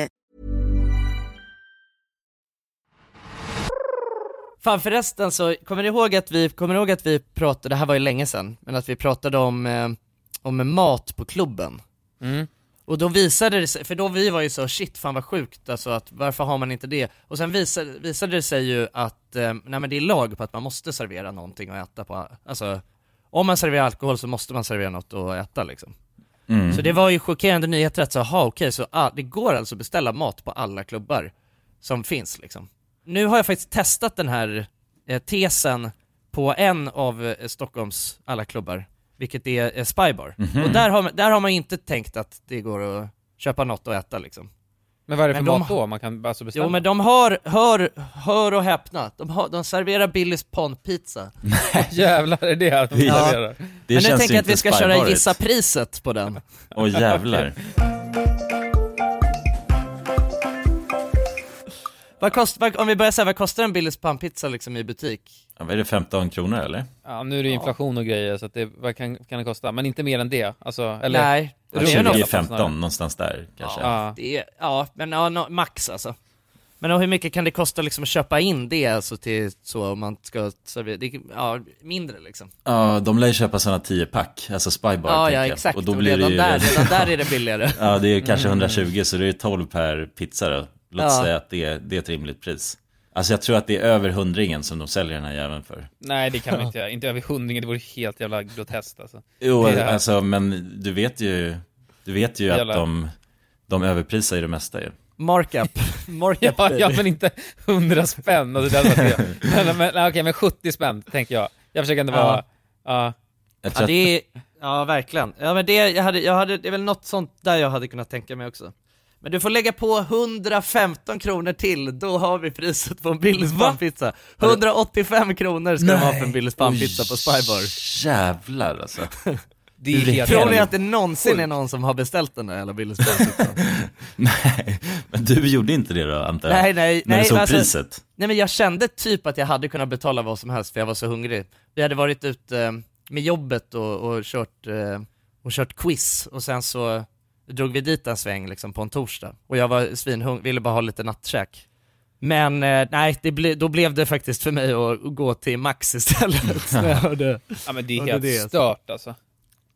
Speaker 2: Fan förresten så, kommer ni ihåg att vi, kommer ni ihåg att vi pratade, det här var ju länge sedan, men att vi pratade om, eh, om mat på klubben?
Speaker 1: Mm.
Speaker 2: Och då visade det sig, för då vi var ju så shit fan vad sjukt alltså att varför har man inte det? Och sen visade, visade det sig ju att, eh, nej men det är lag på att man måste servera någonting och äta på, alltså om man serverar alkohol så måste man servera något och äta liksom.
Speaker 3: Mm.
Speaker 2: Så det var ju chockerande nyheter att så, aha, okej, så ah, det går alltså att beställa mat på alla klubbar som finns liksom. Nu har jag faktiskt testat den här eh, tesen på en av eh, Stockholms alla klubbar, vilket är eh, Spybar.
Speaker 1: Mhm.
Speaker 2: Och där har, man, där har man inte tänkt att det går att köpa något och äta liksom.
Speaker 1: Men vad är det för
Speaker 2: Men de
Speaker 1: mat då? Man kan alltså beställa?
Speaker 2: Jo men de har, hör, hör och häpna, de, har, de serverar Billys pondpizza.
Speaker 1: Jävlar är det att de
Speaker 2: Ja.
Speaker 1: serverar?
Speaker 2: Men nu tänker jag att vi ska köra gissa priset på den.
Speaker 3: Åh jävlar.
Speaker 2: Vad kost, vad, om vi börjar säga, vad kostar en Billys pannpizza liksom i butik?
Speaker 3: Ja, vad är det 15 kronor eller?
Speaker 1: Ja, nu är det inflation och grejer så att det, vad kan, kan det kosta? Men inte mer än det, alltså, eller?
Speaker 2: Nej.
Speaker 3: Ja,
Speaker 1: Runt åtta
Speaker 3: 20-15
Speaker 1: snarare.
Speaker 3: någonstans där kanske.
Speaker 2: Ja, det är, ja men ja, nå- max alltså. Men och hur mycket kan det kosta liksom att köpa in det alltså till så om man ska servera, det, ja mindre liksom.
Speaker 3: Ja, de lär ju köpa sådana 10-pack, alltså Spybar.
Speaker 2: Ja,
Speaker 3: tänker
Speaker 2: ja,
Speaker 3: jag.
Speaker 2: exakt.
Speaker 3: Och då
Speaker 2: Och
Speaker 3: blir det
Speaker 2: redan
Speaker 3: ju...
Speaker 2: där- redan där är det billigare.
Speaker 3: ja, det är ju kanske
Speaker 2: Mm.
Speaker 3: 120, så det är 12 per pizza då. Låt
Speaker 2: Ja.
Speaker 3: säga att det är, det är ett rimligt pris. Alltså jag tror att det är över hundringen som de säljer den här jäveln för.
Speaker 1: Nej det kan man inte göra, inte över hundringen, det vore helt jävla groteskt alltså.
Speaker 3: Jo,
Speaker 1: Det är-
Speaker 2: eh,
Speaker 3: alltså men du vet ju, du vet ju att
Speaker 1: Jävlar.
Speaker 3: de, de överprisar ju det mesta ju.
Speaker 2: Markup. Markup
Speaker 1: Ja, ja
Speaker 2: baby.
Speaker 1: men inte 100 spänn, alltså, det hade varit det. Men, men, nej, okej, men 70 spänn tänker jag. Jag försöker inte vara, ja.
Speaker 2: Ja, det är, ja verkligen. Ja men det, jag hade, jag hade, det är väl något sånt där jag hade kunnat tänka mig också. Men du får lägga på 115 kronor till, då har vi priset på en Billys pannpizza. 185 kronor ska de ha för en Billys pannpizza på Spybar.
Speaker 3: Jävlar alltså.
Speaker 1: Det är helt
Speaker 2: Tror ni att det någonsin är någon som har beställt den där jävla liksom. Billys pannpizza?
Speaker 3: Nej, men du gjorde inte det då antar jag?
Speaker 2: nej, nej,
Speaker 3: När
Speaker 2: nej.
Speaker 3: du såg
Speaker 2: men alltså-
Speaker 3: priset?
Speaker 2: Nej men jag kände typ att jag hade kunnat betala vad som helst för jag var så hungrig. Vi hade varit ute eh, med jobbet och, och, kört, eh, och kört quiz och sen så drog vi dit en sväng liksom på en torsdag. Och jag var svinhungrig, ville bara ha lite nattkäk. Men eh, nej, det ble, då blev det faktiskt för mig att gå till Max istället. när jag hörde-
Speaker 1: Ja men det är
Speaker 2: hörde
Speaker 1: helt
Speaker 2: det.
Speaker 1: stört alltså.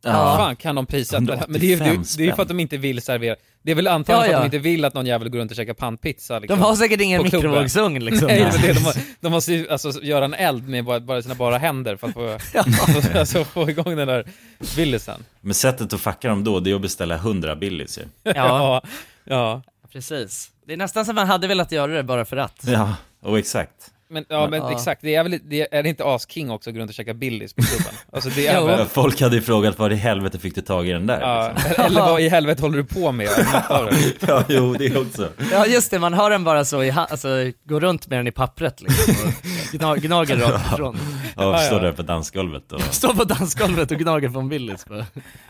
Speaker 1: Hur fan kan de prissätta det här? Men det är, ju- det, är ju- det är ju för att de inte vill servera. Det är väl antagligen
Speaker 2: Ja,
Speaker 1: för att de
Speaker 2: ja.
Speaker 1: inte vill att någon jävel går runt och käkar pannpizza liksom,
Speaker 2: De har säkert ingen
Speaker 1: på klubben.
Speaker 2: mikrovågsugn, liksom.
Speaker 1: Nej, men det, de, har, de måste ju alltså, göra en eld med bara, bara sina bara händer för att få, alltså, få igång den där villisen.
Speaker 3: Men sättet att fucka dem då, det är att beställa 100 Billys ju.
Speaker 2: Ja.
Speaker 1: ja.
Speaker 2: Precis. Det är nästan som man hade velat göra det bara för att.
Speaker 3: Ja, och exakt.
Speaker 1: Men, ja, men
Speaker 2: Ja.
Speaker 1: exakt, det är, väl, det är, är det inte asking också att gå runt och käka Billys på klubben? Alltså, det är väl,
Speaker 3: Folk hade ju frågat var i helvete fick du tag i den där? Liksom.
Speaker 1: ja, eller vad i helvete håller du på med?
Speaker 3: ja, jo, det är också.
Speaker 2: Ja just det, man har den bara så i ha- alltså går runt med den i pappret liksom och gna- gnager rakt ifrån.
Speaker 3: Ja, står där på dansgolvet och...
Speaker 2: Står på dansgolvet och gnager från Willys bara.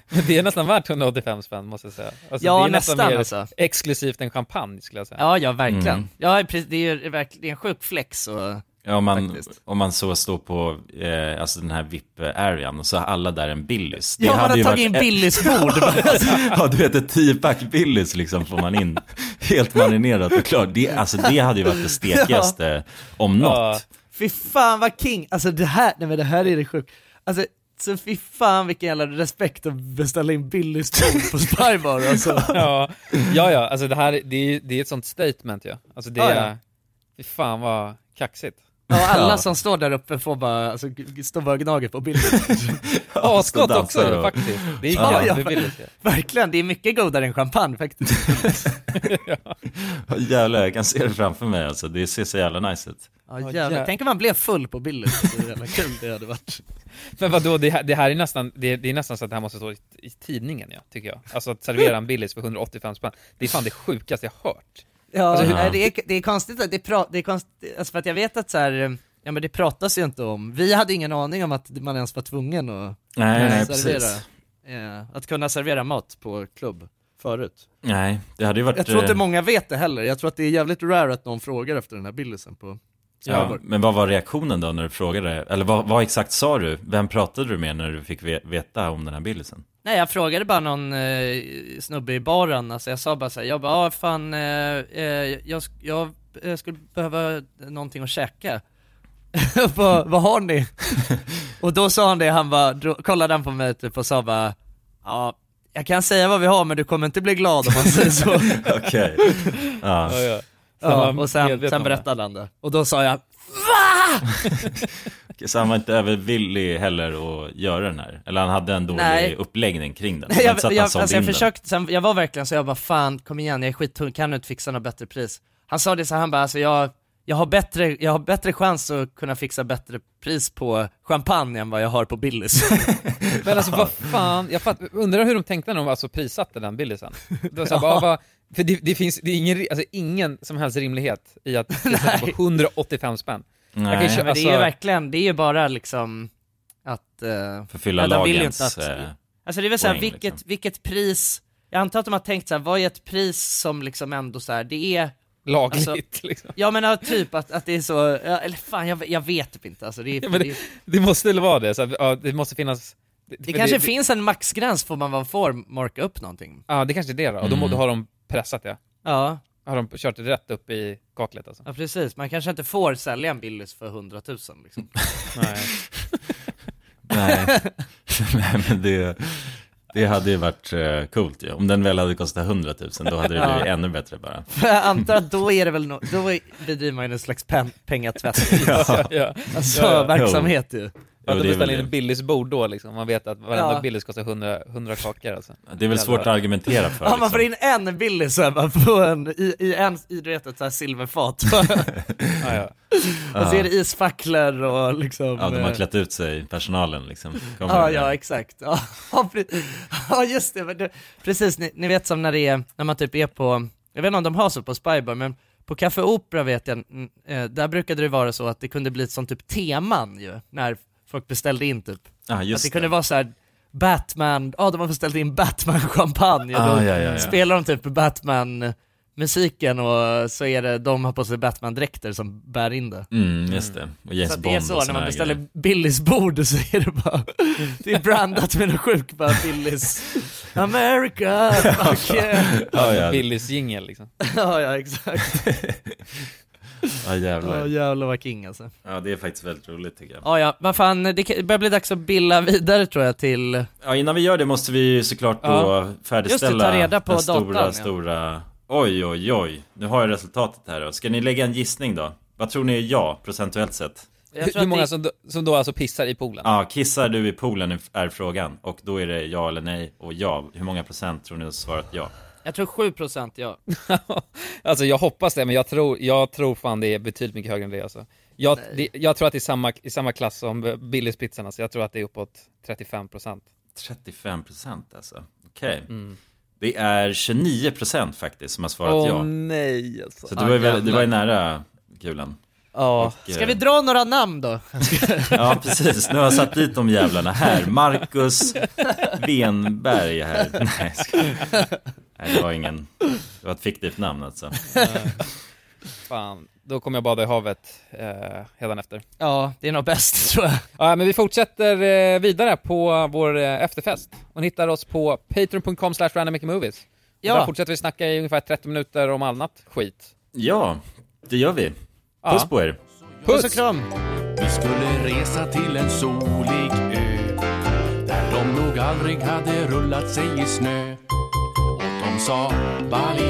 Speaker 1: Men det är nästan värt 185 spänn måste jag säga. Alltså,
Speaker 2: Ja,
Speaker 1: det är
Speaker 2: nästan,
Speaker 1: mer
Speaker 2: alltså.
Speaker 1: exklusivt än champagne skulle jag säga.
Speaker 2: Ja, ja verkligen.
Speaker 3: Mm.
Speaker 2: Ja, precis, det är ju verkligen det är en sjuk flex och
Speaker 3: Ja, om man, om man så står på eh, alltså den här VIP-arean och så har alla där en Billys.
Speaker 2: Ja, man har
Speaker 3: ju
Speaker 2: tagit in
Speaker 3: varit-
Speaker 2: Billys bord.
Speaker 3: ja, du vet ett tiopack Billys liksom får man in. Helt marinerat och klart. Det, alltså, det hade ju varit det stekigaste om något.
Speaker 2: Fy fan vad king, alltså det här, nej men det här är det sjukt. Alltså så fy fan vilken jävla respekt att beställa in Billys bord på Spybar alltså.
Speaker 1: ja, ja, ja, alltså det här, det är, det är ett sånt statement ju. Alltså det
Speaker 2: Ja,
Speaker 1: är,
Speaker 2: ja.
Speaker 1: fy fan vad kaxigt.
Speaker 2: Ja, alla som står där uppe får bara, alltså, g- står bara och gnager på bilden.
Speaker 1: Asgott också ju, faktiskt. Det är ju
Speaker 2: Ja,
Speaker 1: gött
Speaker 2: ja,
Speaker 1: med Willys ju.
Speaker 2: Verkligen, det är mycket godare än champagne faktiskt.
Speaker 3: Ja, Jävlar, jag kan se det framför mig alltså. Det ser så jävla nice ut.
Speaker 2: Ja, jävlar. Tänk om man blev full på bilden, så jävla kul det hade varit.
Speaker 1: Men vadå, det här, det här är nästan, det, det är nästan så att det här måste stå i, i tidningen ja, tycker jag. Alltså att servera en Billys för 185 spänn, det är fan det sjukaste jag hört.
Speaker 2: Ja,
Speaker 1: Alltså, hur-
Speaker 2: nej, det, är, det är konstigt, att det, pra, det är konstigt, alltså för att jag vet att så här, ja men det pratas ju inte om, vi hade ingen aning om att man ens var tvungen att
Speaker 3: Nej,
Speaker 2: kunna
Speaker 3: nej,
Speaker 2: servera,
Speaker 3: precis.
Speaker 2: eh, att kunna servera mat på klubb förut.
Speaker 3: Nej, det hade ju varit...
Speaker 2: Jag tror inte
Speaker 3: eh,
Speaker 2: många vet det heller, jag tror att det är jävligt rare att någon frågar efter den här billisen på
Speaker 3: Ja, men vad var reaktionen då när du frågade? Eller vad, vad exakt sa du? Vem pratade du med när du fick ve- veta om den här bildisen?
Speaker 2: Nej jag frågade bara någon eh, snubbe i baren, alltså jag sa bara såhär, jag bara ah, fan, eh, eh, jag, sk- jag eh, skulle behöva någonting att käka. vad, vad har ni? och då sa han det, han bara, då kollade han på mig typ och sa bara, ja jag kan säga vad vi har men du kommer inte bli glad om man säger så.
Speaker 3: Okej. Ja.
Speaker 2: Ja, ja.
Speaker 3: Så han var
Speaker 2: och sen,
Speaker 3: medveten
Speaker 2: sen
Speaker 3: om det.
Speaker 2: berättade han det. Och då sa jag,
Speaker 3: Så han var inte övervillig heller att göra den här? Eller han hade en dålig
Speaker 2: Nej.
Speaker 3: uppläggning kring den?
Speaker 2: Nej,
Speaker 3: Det var inte så
Speaker 2: jag,
Speaker 3: att
Speaker 2: jag,
Speaker 3: han sålde
Speaker 2: alltså jag
Speaker 3: in den.
Speaker 2: försökte, sen, jag var verkligen så jag bara fan kom igen jag är skittung, kan du inte fixa något bättre pris? Han sa det så här, han bara alltså jag, jag, har bättre, jag har bättre chans att kunna fixa bättre pris på champagne än vad jag har på Billys.
Speaker 1: Men alltså vad fan, jag fatt, undrar hur de tänkte när de alltså prissatte den billisen. De sa bara,
Speaker 2: Ja.
Speaker 1: vad- för det, det finns det är ingen, ri- alltså, ingen som helst rimlighet i att prissätta på 185 spänn.
Speaker 3: Nej.
Speaker 1: Jag kan ju
Speaker 2: Men
Speaker 1: köpa-
Speaker 2: det är ju
Speaker 1: alltså-
Speaker 2: verkligen, det är ju bara liksom att... eh,
Speaker 3: Förfylla
Speaker 2: ja, de vill ju
Speaker 3: lagens,
Speaker 2: inte
Speaker 3: eh,
Speaker 2: alltså det är väl såhär,
Speaker 3: poäng,
Speaker 2: vilket, vilket pris, jag antar att de har tänkt såhär, vad är ett pris som liksom ändå såhär, det är...
Speaker 1: Lagligt, liksom.
Speaker 2: Ja men ja, typ att, att det är så, ja, eller fan jag, jag vet typ inte alltså, det, är,
Speaker 1: Ja, men
Speaker 2: det,
Speaker 1: det, det måste väl vara det, så att, ja, det måste finnas...
Speaker 2: det kanske finns en maxgräns för man vad får marka upp någonting.
Speaker 1: Ja, det kanske är det då, och då,
Speaker 2: Mm.
Speaker 1: må- då har de pressat det.
Speaker 2: Ja.
Speaker 1: Har de kört det rätt upp i kaklet alltså.
Speaker 2: Ja precis, man kanske inte får sälja en Billys för 100 000 liksom.
Speaker 1: Nej.
Speaker 3: Nej. Nej, men det, det hade ju varit eh, coolt ju. Om den väl hade kostat 100 000, då hade det
Speaker 2: Ja.
Speaker 3: blivit ännu bättre bara.
Speaker 2: För jag antar att då är det väl no- då är- bedriver man ju någon slags pen- pengatvätt.
Speaker 3: Ja.
Speaker 2: Alltså
Speaker 1: Ja, ja.
Speaker 2: verksamhet ju.
Speaker 1: Att
Speaker 3: det är
Speaker 1: de
Speaker 3: väl
Speaker 1: beställer
Speaker 3: det.
Speaker 1: in en Billys bord då liksom, man vet att varenda
Speaker 2: Ja.
Speaker 1: Billys kostar 100, 100 kakor alltså.
Speaker 3: Det är väl svårt att argumentera för.
Speaker 2: Ja man får
Speaker 3: liksom.
Speaker 2: in en Billys så här, man får en, i, i en, i du vet ett så här silverfat.
Speaker 1: ja.
Speaker 2: Och så är det isfacklor och liksom.
Speaker 3: Ja, de har
Speaker 2: eh,
Speaker 3: klätt ut sig, personalen liksom. Kommer
Speaker 2: Ja,
Speaker 3: det.
Speaker 2: ja exakt. Ja, Ja, pre- ja just det, men det, precis, ni, ni vet som när det är, när man typ är på, jag vet inte om de har så på Spybar, men på Café Opera vet jag, mm, eh, där brukade det vara så att det kunde bli ett sånt typ teman ju, när folk beställde in typ.
Speaker 3: Ja, Ah, just
Speaker 2: att det,
Speaker 3: det.
Speaker 2: kunde vara så här Batman, ja de har beställt in Batman-champagne och då
Speaker 3: Ah, ja, ja, ja.
Speaker 2: spelar de typ Batman-musiken och så är det, de har på sig Batman-dräkter som bär in det.
Speaker 3: Mm, just det. Och James
Speaker 2: Så att det är
Speaker 3: Bond och
Speaker 2: så, när
Speaker 3: såna
Speaker 2: man
Speaker 3: här
Speaker 2: beställer
Speaker 3: grejer.
Speaker 2: Billys bord så är det bara, det är brandat med någon sjuk bara Billys America, fuck yeah.
Speaker 1: Ja, ja. Billys jingel liksom.
Speaker 2: ja, ja exakt.
Speaker 3: Ja Ah, jävlar.
Speaker 13: Ja, jävlar vad king alltså.
Speaker 3: Ja det är faktiskt väldigt roligt tycker jag.
Speaker 13: Ja, ja, men fan, det kan- det börjar bli dags att billa vidare tror jag till...
Speaker 3: Ja innan vi gör det måste vi ju såklart då
Speaker 13: Ja.
Speaker 3: färdigställa
Speaker 13: Just det, ta reda på
Speaker 3: den stora,
Speaker 13: datan, ja.
Speaker 3: stora... Oj oj oj. Nu har jag resultatet här då. Ska ni lägga en gissning då? Vad tror ni är ja, procentuellt sett?
Speaker 1: Hur, hur många som, då- som då alltså pissar i poolen?
Speaker 3: Ja, kissar du i poolen är frågan. Och då är det ja eller nej. Och ja, hur många procent tror ni har svarat ja?
Speaker 13: Jag tror 7% ja.
Speaker 1: Alltså jag hoppas det, men jag tror, jag tror fan det är betydligt mycket högre än det alltså. Jag, det, jag tror att det är samma, i samma klass som Billyspizzan, alltså jag tror att det är uppåt 35%.
Speaker 3: 35 procent alltså. Okej.
Speaker 13: Mm.
Speaker 3: Det är 29 procent faktiskt som har svarat
Speaker 1: Åh,
Speaker 3: ja.
Speaker 13: nej, alltså.
Speaker 3: Så det var ju,
Speaker 13: Ah,
Speaker 3: väl, det var ju
Speaker 13: jävlar.
Speaker 3: nära kulan.
Speaker 13: Ja.
Speaker 3: Och,
Speaker 13: Ska
Speaker 3: eh,
Speaker 13: vi dra några namn då?
Speaker 3: Ja, precis. Nu har jag satt dit de jävlarna här. Marcus Benberg här. Nej, jag skojar. Nej, det var ingen... Det var ett fiktivt namn alltså.
Speaker 1: Fan, då kommer jag bada i havet eh, hädanefter.
Speaker 13: Ja, det är nog bäst tror jag.
Speaker 1: Ja, men vi fortsätter eh, vidare på vår eh, efterfest. Och ni hittar oss på patreon.com slash randommakemovies.
Speaker 13: Ja.
Speaker 1: Ja. Där fortsätter vi snacka i ungefär 30 minuter om annat skit.
Speaker 3: Ja, det gör vi. Puss
Speaker 1: Ja.
Speaker 3: på er.
Speaker 1: Puss!
Speaker 13: och kram!
Speaker 12: Vi skulle resa till en solig ö Där de nog aldrig hade rullat sig i snö Och de sa Bali